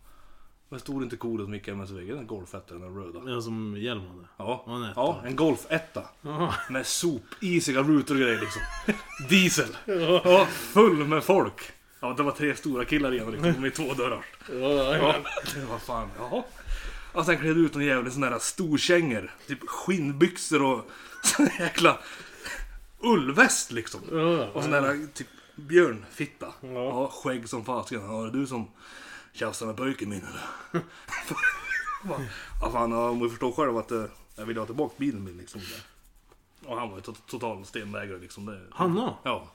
B: Den stod inte cool som gick MSVG, den Golf 1 den röda.
A: Den eh, som Hjelm hade.
B: Ja,
A: Ja, en etta.
B: ja, en Golf 1
A: Ja.
B: med sopisiga rutor och grejer liksom. Diesel. Ja, full med folk. Ja, det var tre stora killar igen liksom, med två dörrar. Ja, det var fan, jaha. Och sen klädde ut en jävla sån där storkängor. Typ skinnbyxor och sån jäkla ullväst liksom.
A: Ja,
B: Och sån där typ björnfitta.
A: Ja.
B: Ja, skägg som fasiken. Ja, är det du som tjafsar med pojken min eller? ja, fan, ja, om vi förstår själv att eh, jag vill ha tillbaka bilen min liksom. Och han var ju to- total stenvägrare liksom. Det,
A: Hanna?
B: Ja.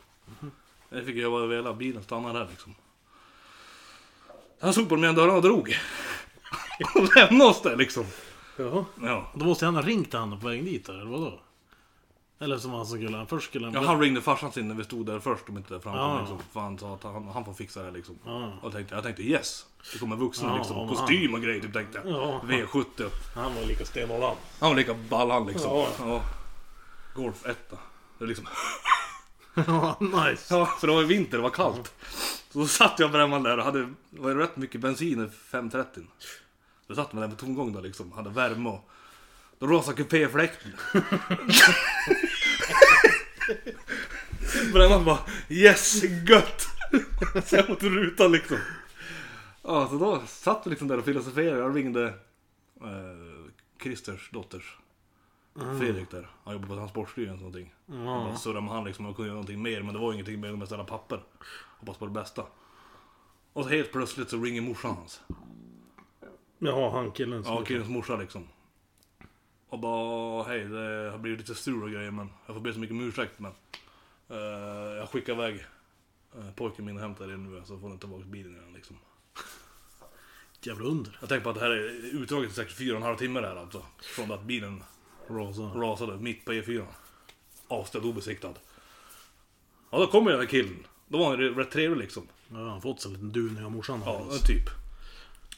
B: Jag fick göra vad jag ville. Bilen stannade där liksom. Han slog på de igen dörrarna och drog. Och lämnade oss där liksom.
A: Ja.
B: Ja.
A: Då måste han ha ringt han på vägen dit eller vadå? Eller som han som skulle, han först skulle han...
B: Ja, han ringde farsan sin när vi stod där först om inte där framkom
A: Ja.
B: liksom. För han sa att han, han får fixa det här liksom.
A: Ja.
B: Och tänkte, jag tänkte yes. Det kommer vuxna
A: Ja,
B: liksom.
A: om
B: Kostym och grejer typ tänkte jag.
A: Ja.
B: V70.
A: Han var lika stenhård han.
B: Han var lika ball han liksom.
A: Ja.
B: Ja. Golf 1 Det är liksom.
A: Ja, nice.
B: Ja, för det var vinter, det var kallt. Så då satt jag brännman där och hade det var ju rätt mycket bensin i 530. Då satt man där på tomgång där liksom, hade värme och... Då rasade kupéfläkten. brännman bara yes, gött! Så jag mot rutan liksom. Ja, så då satt vi liksom där och filosoferade. Jag ringde eh, Christers dotters Fredrik där. Han jobbar på Transportstyrelsen och någonting.
A: Ja.
B: Jag surrade med han liksom och kunde göra någonting mer men det var ingenting mer än att beställa papper. Hoppas på det bästa. Och så helt plötsligt så ringer morsan hans.
A: Jaha, han killen som...
B: Ja, killens morsa liksom. Och bara hej det har blivit lite strul och grejer men jag får be så mycket om ursäkt men. eh, jag skickar iväg eh, pojken min och hämtar er nu så får ni tillbaka bilen igen liksom.
A: jävla under.
B: Jag tänker på att det här är utdraget i säkert fyra och en halv timme där alltså. Från det att bilen
A: Rasa.
B: rasade mitt på E4. Avställd obesiktad. Ja, då kommer den här killen. Då var han ju rätt trevlig liksom.
A: Ja, han har fått sig en liten duvning av morsan.
B: Ja,
A: Ja,
B: typ.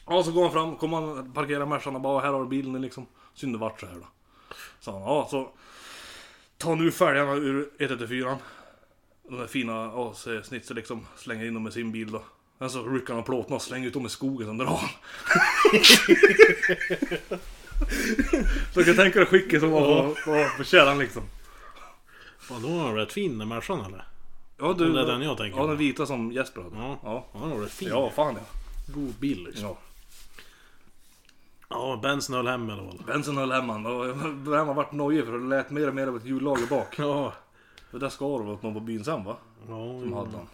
B: Ja, så går han fram, kommer han parkera Mercan och bara här har du bilen liksom. Synd det vart så här då. Så han, ja så. Ta nu fälgarna ur 114. De där fina AC-snitsen liksom. Slänger in dem i sin bil då. Sen så rycker han av plåtarna och slänger ut dem i skogen, sen drar han. så du kan tänka dig skicket som var på, på, på kärran liksom.
A: Fan, då var han rätt fin den Mercan eller?
B: Ja, du,
A: Det är den jag tänker
B: Ja,
A: på.
B: den vita som Jesper hade.
A: Ja.
B: ja.
A: Ja, han var rätt fin.
B: Ja, fan ja.
A: God bil liksom.
B: ja.
A: Ja, Benson höll hem i alla fall.
B: Benson höll hemman och han har varit nojig för det lät mer och mer av ett hjullager bak.
A: Ja.
B: Det där ska det vara någon på byn sen va?
A: Ja,
B: Som hade han.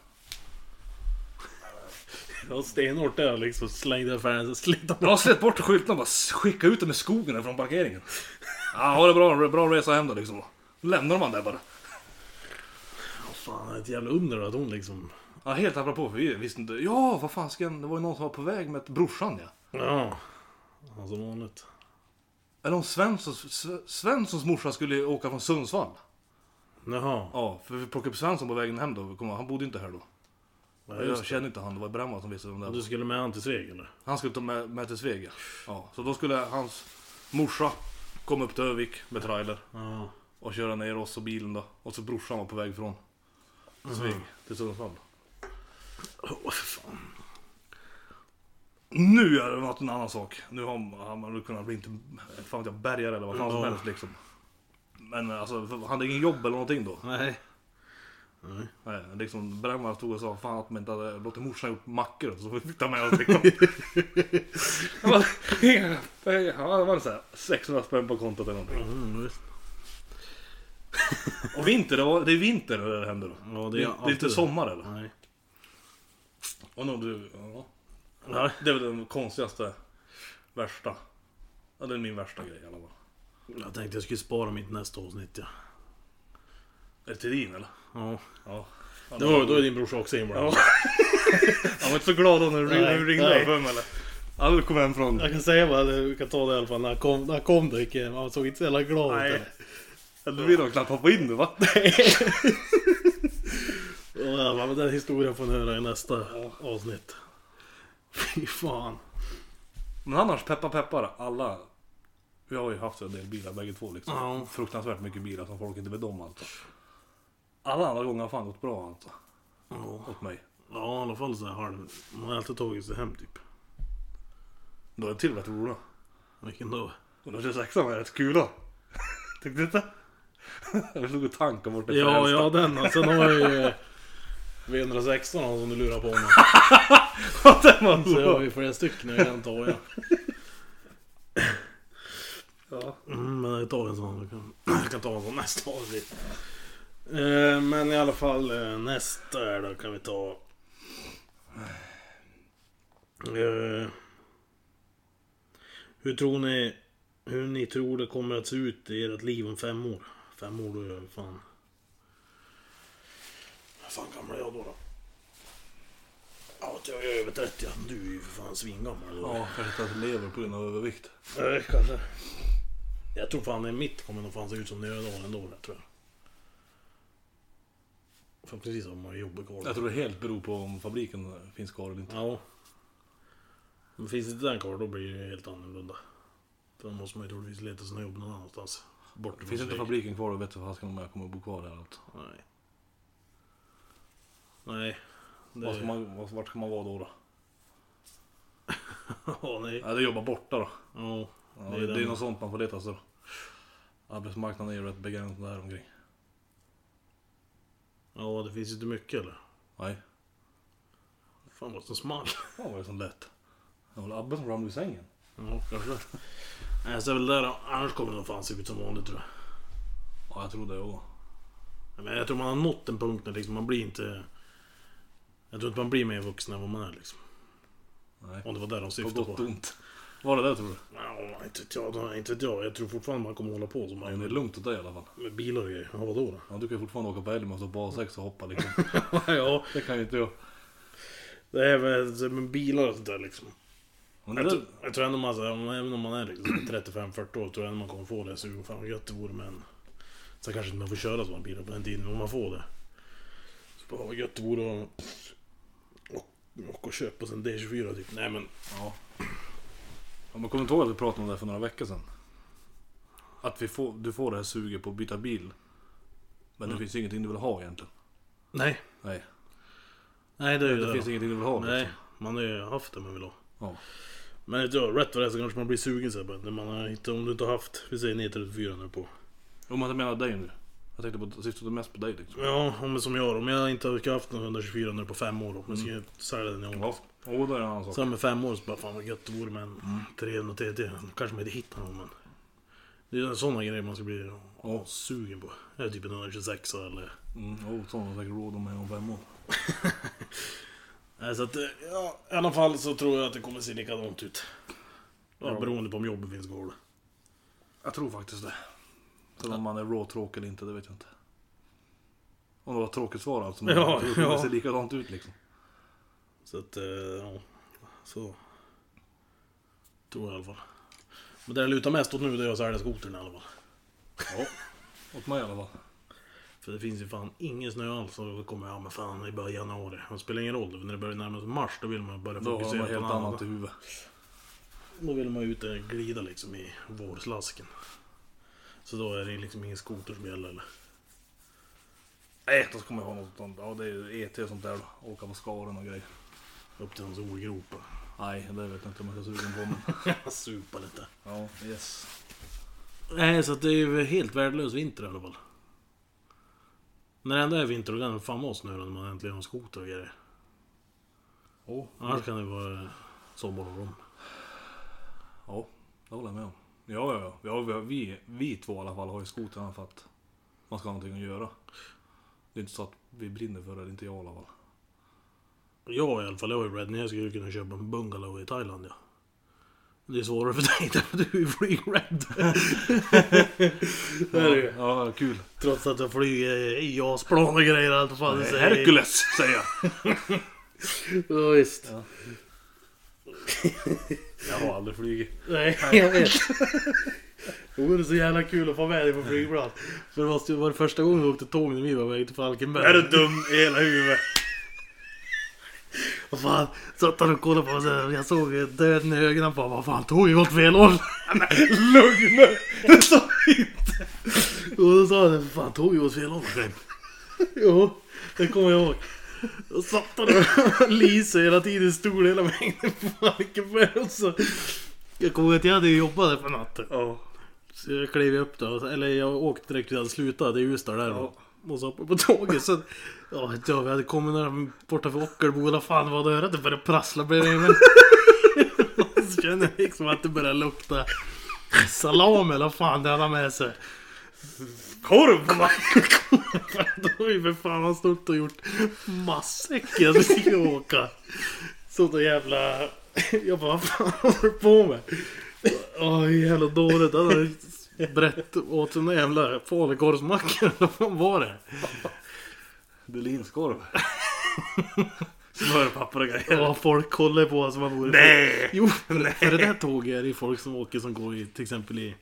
A: ja stenhårt där liksom. Slängde affären, slet
B: Jag har släppt bort skyltarna bara skicka ut dem i skogen här från parkeringen. Ja, ha det bra, bra resa hem då liksom. Lämnar man där bara.
A: Fan, ett jävla under att hon liksom...
B: Ja, helt apropå för vi visste inte. Ja, vad fan ska Det var ju någon som var på väg med brorsan ja.
A: Ja. ja som vanligt.
B: Eller om Svenssons, Sve- Svenssons morsa skulle åka från Sundsvall.
A: Jaha.
B: Ja, för vi plockade upp Svensson på vägen hem då. Kom, han bodde inte här då.
A: Ja,
B: Jag
A: just det.
B: kände inte han, det var Brännman som visste vem det var.
A: Du skulle med han till Sveg eller?
B: Han skulle ta med, med till Sveg ja. ja. Så då skulle hans morsa komma upp till Övik med trailer
A: Ja.
B: och köra ner oss och bilen då. Och så brorsan var på väg från Sveg till Sundsvall.
A: Åh, för fan.
B: Nu är det något en annan sak. Nu har han hade kunnat bli inte, fan vet jag, bärgare eller vad fan som
A: Ja.
B: helst liksom. Men alltså, för- han hade ingen jobb eller någonting då.
A: Nej. Nej.
B: Nej, liksom Brännman stod och sa fan att man inte hade låtit morsan gjort mackor så vi fick ta med oss liksom. Han bara, ja, det var så här 600 spänn på kontot eller någonting.
A: Mm, visst.
B: Och vinter, det, var, det är vinter när det händer då.
A: Ja, det är
B: det, är, det är
A: alltid
B: inte
A: det.
B: sommar eller?
A: Nej.
B: Och någon du, ja.
A: Nej.
B: Det är väl den konstigaste, värsta. Ja, det är min värsta grej i alla fall.
A: Jag tänkte jag skulle spara mitt nästa avsnitt ja.
B: Är det till din eller?
A: Ja.
B: Ja.
A: Det var, då är din brorsa också inblandad.
B: Ja. Han var inte så glad då när du ring-
A: Nej,
B: när du ringde
A: nej.
B: jag för mig eller? Ja, du kom hem från...
A: Jag kan säga vad du kan ta det i alla fall. När han kom, när han kom då gick jag- han såg inte så jävla glad ut.
B: Nej.
A: eller?
B: Ja, Du vill nog knappt hoppa in nu va?
A: Och jag bara, men Den historien får ni höra i nästa avsnitt. Fy fan.
B: Men annars, peppa peppar, alla... Vi har ju haft en del bilar bägge två liksom.
A: Ja.
B: Fruktansvärt mycket bilar som folk inte vet om alltså. Alla andra gånger har fan gått bra alltså.
A: Ja,
B: Åt mig.
A: ja i alla fall så här halv. Man har alltid tagit sig hem typ.
B: Då är det till och med roligt.
A: Vilken då?
B: Under 26 var rätt kul då. Tyckte du inte? Jag slog och tankade bort det
A: Ja, ja den. och Sen har jag ju eh, V116 han som du lurar på mig.
B: den var
A: Så jag har
B: rolig.
A: ju flera stycken jag kan ta ja.
B: Ja.
A: Mm, men jag tar en sån. Jag kan, jag kan ta en sån nästa avsnitt. Eh, men i alla fall eh, nästa här då kan vi ta... Eh, hur tror ni... Hur ni tror det kommer att se ut i ert liv om fem år? Fem år då är jag fan... Vad fan gammal är jag då? då? Ja, jag är över 30. Du är ju för fan svingammal.
B: Ja, kanske inte ens lever på grund av övervikt.
A: Nej, kanske. Jag tror fan det är mitt kommer nog fan se ut som det gör idag ändå, det tror jag. För precis som man jobbar kvar.
B: Jag tror det helt beror på om fabriken finns kvar eller inte.
A: Ja. Men finns inte den kvar, då blir det ju helt annorlunda. För då måste man ju troligtvis leta sina jobb någon annanstans. Bort från
B: Finns inte
A: Sveg.
B: fabriken kvar då vet du fasiken om jag kommer att bo kvar här alltså.
A: Nej. Nej.
B: Vad ska
A: Det...
B: man, vad- vart ska man vara då? då?
A: ja, nej.
B: Ja, det jobbar borta då.
A: Ja.
B: Ja,
A: Det är
B: det, det är
A: den.
B: något sånt man får leta efter. Arbetsmarknaden är ju rätt begränsad där omkring.
A: ja, det finns inte mycket eller?
B: Nej.
A: Fan vad som small.
B: Fan vad det är som lätt. Det var väl Abbe som ramlade ur sängen.
A: Ja, kanske. Nej, så är väl där då. Annars kommer det nog fan se ut som vanligt tror jag.
B: Ja, jag tror det också.
A: Ja, Men jag tror man har nått en punkt när liksom man blir inte... Jag tror inte man blir mer vuxen än vad man är liksom.
B: Nej.
A: Om det var där de
B: På
A: syftade på.
B: gott och ont. Var det där tror du?
A: Ja, inte vet jag. då- Inte vet jag. Jag tror fortfarande man kommer hålla på som
B: Men
A: man
B: det är
A: gör
B: lugnt åt dig i alla fall.
A: med bilar och grejer. Ja, vadå då?
B: Ja, du kan ju fortfarande åka på älg med och stå på A6 och hoppa liksom.
A: ja,
B: Det kan ju inte jag.
A: det är väl med bilar och sånt där liksom.
B: Men det
A: Jag,
B: där,
A: tror- jag tror ändå man, så här, om- även om man är liksom 35-40 år, tror jag ändå man kommer få det. Så fan vad gött det vore med en... Sen kanske inte man får köra sådana bilar på den tiden, men om man får det. Så bara, vad gött det vore att... och- Och, och köpa sig en D24 typ. Nej men...
B: ja. Om man kommer inte ihåg att vi pratade om det här för några veckor sedan. Att vi får, du får det här suget på att byta bil. Men det
A: Mm.
B: finns ingenting du vill ha egentligen.
A: Nej.
B: Nej,
A: Nej det är ju
B: det
A: det.
B: finns
A: då.
B: ingenting du vill ha.
A: Nej,
B: liksom.
A: man har ju haft det man vill ha.
B: Ja.
A: Men ja, rätt vad det är så kanske man blir sugen så här, bara, när man har, inte- Om du inte har haft, vi säger 934 nu på.
B: Om jag menar dig nu. Jag tänkte på, syftade mest på dig liksom.
A: Ja, om som jag då. Om jag inte har haft någon 124 nu på fem år då. Men ska
B: Mm.
A: jag sälja den i år.
B: Ja, och det är en annan sak.
A: Sen med fem år så bara fan vad gött det vore med en
B: Mm.
A: 300 TT. Kanske man inte hittar någon men. Det är sådana grejer man ska bli
B: Ja.
A: sugen på. Jag är typ en 126 eller.
B: Mm, oh, sån har säkert råd om mig om fem år.
A: Nej, så att, eh, ja, I alla fall så tror jag att det kommer se likadant ut. Ja,
B: Ja.
A: beroende på om jobbet finns kvar. då.
B: Jag tror faktiskt det. Sen om man är råtråkig eller inte, det vet jag inte. Om det var ett tråkigt svar alltså. Men
A: Ja,
B: jag tror
A: ja.
B: Det ser likadant ut liksom.
A: Så att, eh, ja. Så. Tror jag i alla fall. Men det jag lutar mest åt nu det är att sälja skotern i alla fall.
B: Ja. Åt mig i alla fall.
A: För det finns ju fan ingen snö alls och då kommer jag, men fan i början av januari. Det spelar ingen roll, när det börjar närma sig mars då vill man börja
B: Då har
A: fokusera
B: man
A: på
B: helt
A: något annat.
B: annat i huvudet.
A: Då vill man ju ut och glida liksom i vårslasken. Så då är det liksom ingen skoter som gäller eller?
B: Nej, Äh, då ska man ju ha något sånt. Ja, det är ju ET och sånt där. då. Åka på skaren och grejer.
A: Upp till någon solgrop
B: Nej, det vet jag inte om jag är så sugen på. Men...
A: och supa lite.
B: Ja, yes.
A: Nej, så att det är ju helt värdelös vinter i alla fall. När det ändå är vinter då kan det fan vara snö då, när man äntligen har skoter och grejer.
B: Oh.
A: Annars kan det vara sommar och rom.
B: Ja, det håller jag med om. Ja, ja, ja. ja vi, vi, vi två i alla fall har ju skotern för att man ska ha någonting att göra. Det är inte så att vi brinner för det, inte jag i alla fall.
A: Jag i alla fall, jag är ju rädd. Jag skulle kunna köpa en bungalow i Thailand ja. Det är svårare för dig därför att du är ju flygrädd. Det är det ju.
B: Ja, ja, kul.
A: Trots att jag flyger i JAS-plan och grejer allt vad fan det säger.
B: Hercules säger jag.
A: Ja visst.
B: Jag har aldrig flugit.
A: Nej, jag vet. Det vore så jävla kul att få med dig på flygplan. För det måste ju vara första gången vi åkte tåg när vi var på väg till Falkenberg.
B: Är du dum i hela huvudet?
A: Vad fan, satt han och kollade på mig såhär, jag såg döden i ögonen på honom. Vad fan, tog ju åt fel håll.
B: Lugna!
A: Det sa vi inte. Och då sa han, fan tog ju åt fel håll. Glenn." Jo, det kommer jag ihåg. Då satt han och lisade hela tiden, stod hela vägen på Falkenberg. och så- Jag kommer ihåg att jag hade jobbat där på natten.
B: Ja.
A: Så jag klev upp då, eller jag åkte direkt till jag slutade, det är Ljusdal där då. Och så hoppade jag på tåget så... Ja, ja, vi hade kommit när borta för Ockelboda, fan vad det är att det började prassla bredvid mig. så kände jag liksom att det började lukta salami eller vad fan det hade han med sig.
B: Korv!
A: Då har ju för fan han stått och gjort matsäckar som skulle åka. Sånt där jävla... Jag bara, vad fan håller du på med? Åh, jävla dåligt. Han hade brett åt sig några jävla falukorvsmackor. eller Vad fan var det?
B: Berlinskorv. Smörpapper och grejer.
A: Ja, folk kollar på honom som han vore...
B: Nej!
A: Jo, för det där tåget är det ju folk som åker som går i till exempel i...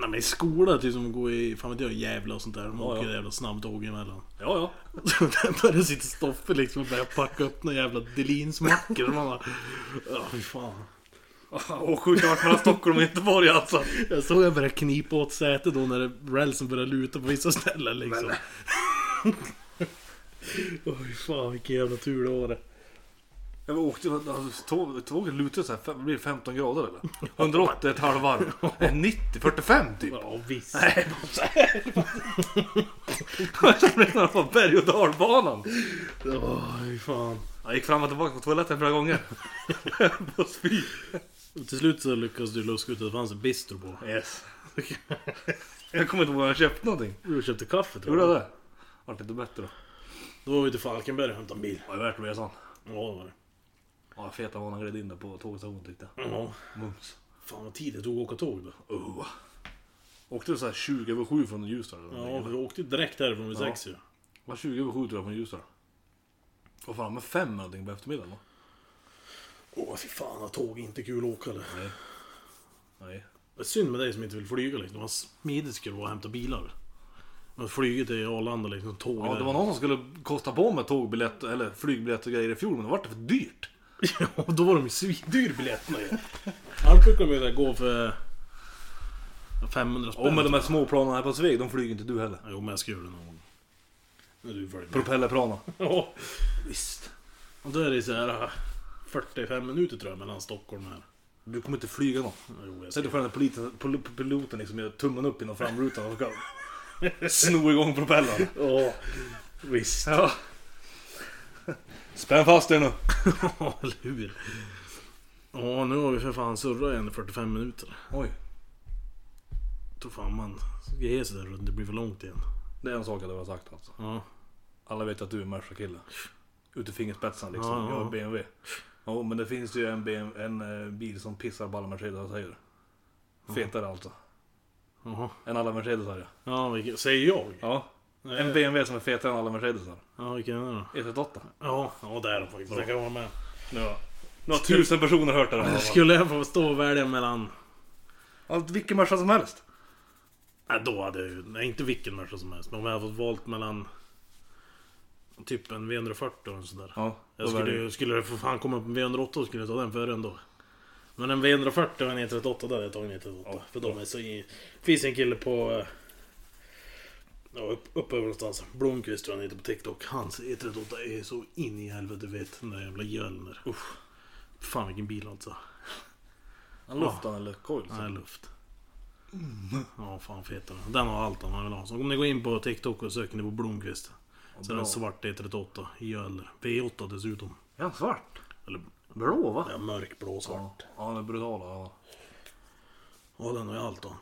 A: Nej men i skolan, typ som går i, fan vet jag, Gävle och sånt där. De
B: Ja,
A: åker
B: ja.
A: jävla snabbtåg emellan.
B: Ja, ja.
A: Så där började sitta Stoffe liksom och började packa upp några jävla Delinsmackor. Och man bara... Ja, fy fan.
B: Och sjukt vart mellan Stockholm och Göteborg alltså.
A: Jag såg jag började knipa åt sätet då när det- rälsen började luta på vissa ställen liksom. Åh fy fan vilken jävla tur det var det.
B: Jag var- åkte, alltså, tåg, tåget lutade så här, fem- blir det 15 grader eller? 180 ett halvvarv. Eh, 90, 45 typ.
A: Ja visst.
B: Nej, bara så här. Jag kände mig som att det var berg och dalbanan.
A: Åh fy fan.
B: Jag gick fram och tillbaka på toaletten flera gånger. på spy.
A: Och till slut så lyckades du luska ut att det fanns en bistro på.
B: Yes. jag kommer inte ihåg om jag köpte någonting.
A: Du köpte kaffe tror
B: Gjorde
A: jag.
B: jag det? Vart lite bättre då.
A: Då var vi till Falkenberg och hämtade en bil.
B: Var det värt resan?
A: Ja det var det.
B: Ja, feta var när han gled in där på tågstationen tyckte jag.
A: Ja.
B: Mums.
A: Fan vad tid det tog att åka tåg då.
B: Oh. Åkte du så här 20 över 7 från Ljusdal? eller någonting,
A: Ja,
B: eller?
A: vi åkte ju direkt härifrån vid
B: Ja.
A: sex ju.
B: Var 20 över 7 tror jag från Ljusdal. Vad fan, med fem eller någonting på eftermiddagen va?
A: Åh fy fan, vad tåg är inte kul att åka eller?
B: Nej. Nej.
A: Det är synd med dig som inte vill flyga liksom. Det var smidigt skulle det vara att hämta bilar. Men flyget till Arlanda liksom, tåg
B: Ja,
A: där.
B: det var någon som skulle kosta på mig tågbiljett eller flygbiljett och grejer i fjol, men det vart för dyrt.
A: Ja, då var de ju svindyr biljetterna ju. Annars brukar de ju där gå för 500 spänn.
B: Och med de här småplanen här på Sveg, de flyger inte du heller.
A: Jo, men jag ska göra det någon gång. När du följer med.
B: Propellerplanen.
A: Ja,
B: Visst.
A: och då är det så här äh, 45 minuter tror jag mellan Stockholm här.
B: Du kommer inte flyga någon.
A: Jo, jag ska.
B: Säg dig själv när politen, pol- piloten liksom gör tummen upp inom framrutan och ska sno igång propellern.
A: Ja, visst.
B: Ja. Spänn fast er nu.
A: Ja, eller hur? Ja, nu har vi för fan surrat igen i 45 minuter.
B: Oj,
A: Då fan man ska ge sig där runt, det blir för långt igen.
B: det är en sak jag har sagt alltså.
A: Ja,
B: Alla vet att du är Merca-kille. Ut i fingerspetsarna liksom.
A: Ja, ja,
B: Jag
A: ja.
B: är BMW. Ja, men det finns ju en, BMW, en eh, bil som pissar på alla Mercedesar säger du. Fetare alltså.
A: jaha.
B: Än alla Mercedesar ja.
A: Ja, vilken, säger jag?
B: ja. En BMW som är fetare än alla Mercedesar.
A: Ja, vilken är det då?
B: 138.
A: Ja, ja det är de faktiskt. Det kan vara med.
B: Nu har, nu har tusen personer hört det här. i alla fall.
A: Skulle jag få stå och välja mellan...
B: Allt, vilken Merca som helst.
A: Nej, då hade jag ju... Nej, inte vilken människa som helst. Men om jag hade fått valt mellan... Typ en V140 och en sån där.
B: Ja,
A: jag skulle ju... Skulle jag för fan komma på en V108 så skulle jag ta den före ändå. Men en V140 och en E38, där hade jag tagit en E38.
B: Ja,
A: för de är så... I... Finns en kille på... eh, Ja, upp, uppe över någonstans. Blomqvist tror jag han heter på TikTok. Hans E38 är så in i helvete vet. Den där jävla Hjälmer. Usch. Fan vilken bil alltså.
B: Han luftade eller coil.
A: Nej, luft. Ja, fan fetare. Den har allt han vill ha. Så om ni går in på TikTok och söker ni på Blomqvist. Så är
B: bra.
A: den svart E E38 i öl. V8 dessutom.
B: Är han svart?
A: Eller
B: Blå va?
A: ja, mörkblå svart.
B: Ja, han är brutal. Ja.
A: Ja, den har ju allt han.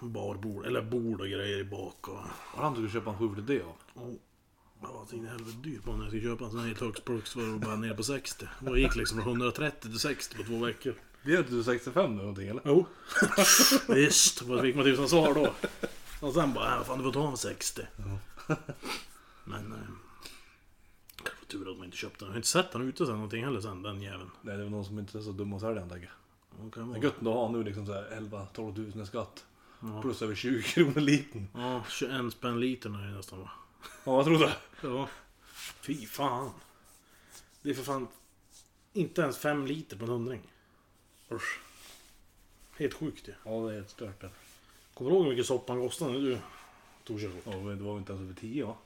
A: Barbord, eller bord och grejer i bak och...
B: Var han skulle köpa en 740D av?
A: Oh. Ja, så in i helvete dyrt på när jag skulle köpa en sån här i Tuxburks var det bara nere på 60. Och jag gick liksom från 130 till 60 på två veckor.
B: Det är inte du 65 nu någonting eller?
A: Jo. Visst, vad fick man tusan svar då? Och sen bara, äh, fan du får ta en 60. Men... Eh, kanske tur att man inte köpte den. Jag har inte sett den ute sen någonting heller sen, den jäveln.
B: Nej, det är väl någon som inte är så dum och säljer den tänker jag.
A: Ja, kan
B: Det
A: vara.
B: är gött att ha nu liksom såhär 11-12 tusen i skatt.
A: Ja.
B: Plus över 20 kronor liten.
A: Ja, 21 spänn litern är det nästan va?
B: Ja, vad tror du?
A: Ja. Fy fan. Det är för fan inte ens 5 liter på en hundring.
B: Usch.
A: Helt sjukt ju.
B: Ja, det är helt stört det.
A: Kommer du ihåg hur mycket soppan kostade när du tog körkort?
B: Ja, men det var ju inte ens över 10 va?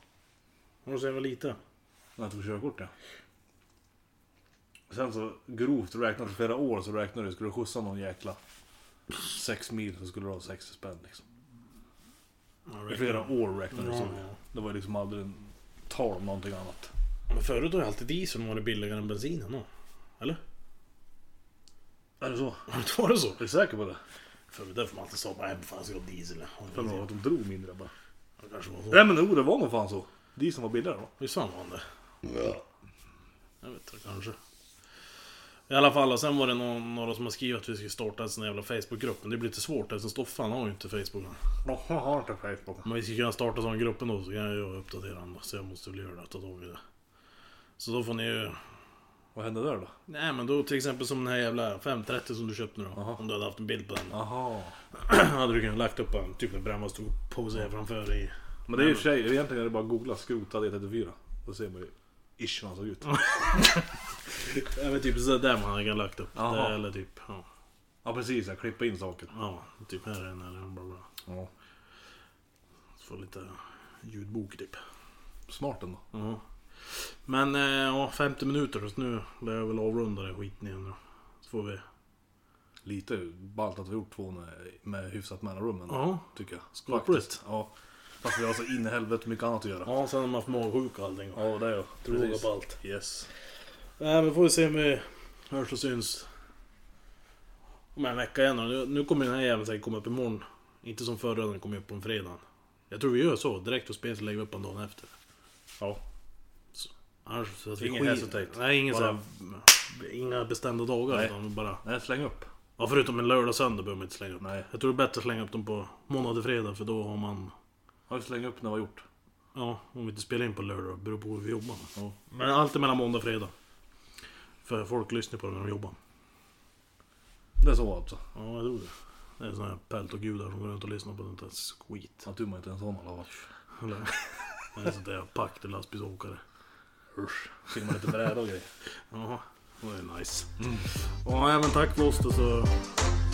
A: Har du så jävla lite?
B: När jag tog körkort ja. Sen så grovt räknat i flera år så räknade du, skulle du skjutsa någon jäkla 6 mil så skulle du ha 60 spänn liksom. I flera år räknade du så.
A: Ja, ja.
B: Det var ju liksom aldrig en tal om någonting annat.
A: Men förut har ju alltid dieseln varit billigare än bensinen då. Eller?
B: Är det så?
A: Har det inte varit så?
B: Är du säker på det?
A: För det är därför man alltid sa nej fan ska jag ha diesel. Och
B: Jag tror
A: diesel.
B: att de drog mindre bara.
A: Det kanske var så.
B: Nej men jo, det var nog fan så. De som var billigare va?
A: Visst fan var han det? Jag vet inte, kanske. I alla fall, och sen var det någon, några som har skrivit att vi skulle starta en sån jävla Facebookgrupp. Men det blir lite svårt eftersom Stoffan har ju inte Facebook. än.
B: Jaha, jag har inte Facebook.
A: Men vi ska kunna starta en sån grupp ändå så kan jag ju uppdatera den. då. Så jag måste väl göra det, ta tag i det. Så då får ni ju...
B: Vad hände där då?
A: Nej men då till exempel som den här jävla 530 som du köpte nu då.
B: Jaha.
A: Om du hade haft en bild på den.
B: Jaha.
A: hade du kunnat lagt upp en typ en brännmasstor pose här framför i...
B: Men det är ju i och för sig, egentligen är det bara att googla skrotad E34. Då ser man ju ish hur han såg ut.
A: Ja men typ sådär man hade kunnat lagt upp.
B: Jaha.
A: Det, eller typ... Ja.
B: Ja precis, jag klippa in saker.
A: ja typ här är den eller bla bla.
B: Ja.
A: Så Få lite ljudbok typ.
B: Smart ändå.
A: Ja. Men eh, ja, 50 minuter så nu lär jag väl avrunda det skiten igen nu. Så får vi...
B: Lite ballt att vi gjort två med, med hyfsat mellanrum ändå.
A: Ja.
B: Tycker jag.
A: Skål på
B: Faktiskt. Ja. Fast vi har så in i helvete mycket annat att göra.
A: Ja sen har man haft magsjuka och allting.
B: Ja, det är jag.
A: Droger på allt.
B: Yes.
A: Nej Äh, men får vi se om vi hörs och syns. Om en vecka igen då. nu, nu kommer den här jäveln säkert komma upp imorgon. Inte som förra, den kommer upp på en fredag. Jag tror vi gör så. Direkt och spel så lägger vi upp en dag efter.
B: Ja.
A: Annars så att vi
B: Ingen
A: skiter-
B: hesitate.
A: Nej, ingen
B: Bara-
A: så här, Inga bestämda dagar
B: Nej.
A: utan bara...
B: Nej, släng upp.
A: Ja, förutom en lördag och söndag behöver man inte slänga upp.
B: Nej.
A: Jag tror det är bättre att slänga upp dem på måndag och fredag för då har man...
B: Har vi slängt upp när vi har gjort?
A: Ja, om vi inte spelar in på lördag det beror på hur vi jobbar.
B: Ja.
A: Men allt är mellan måndag och fredag. För folk lyssnar på det när de jobbar.
B: Det är så alltså.
A: Ja, jag tror det. Det är såna här peltogudar som går runt och lyssnar på sånt där skit.
B: Att du var inte en sån alla varit.
A: Eller? Det är sånt där pack till lastbilsåkare.
B: Usch. Filmar lite bräda och grejer.
A: Ja, det är nice. Ja, även tack för oss då så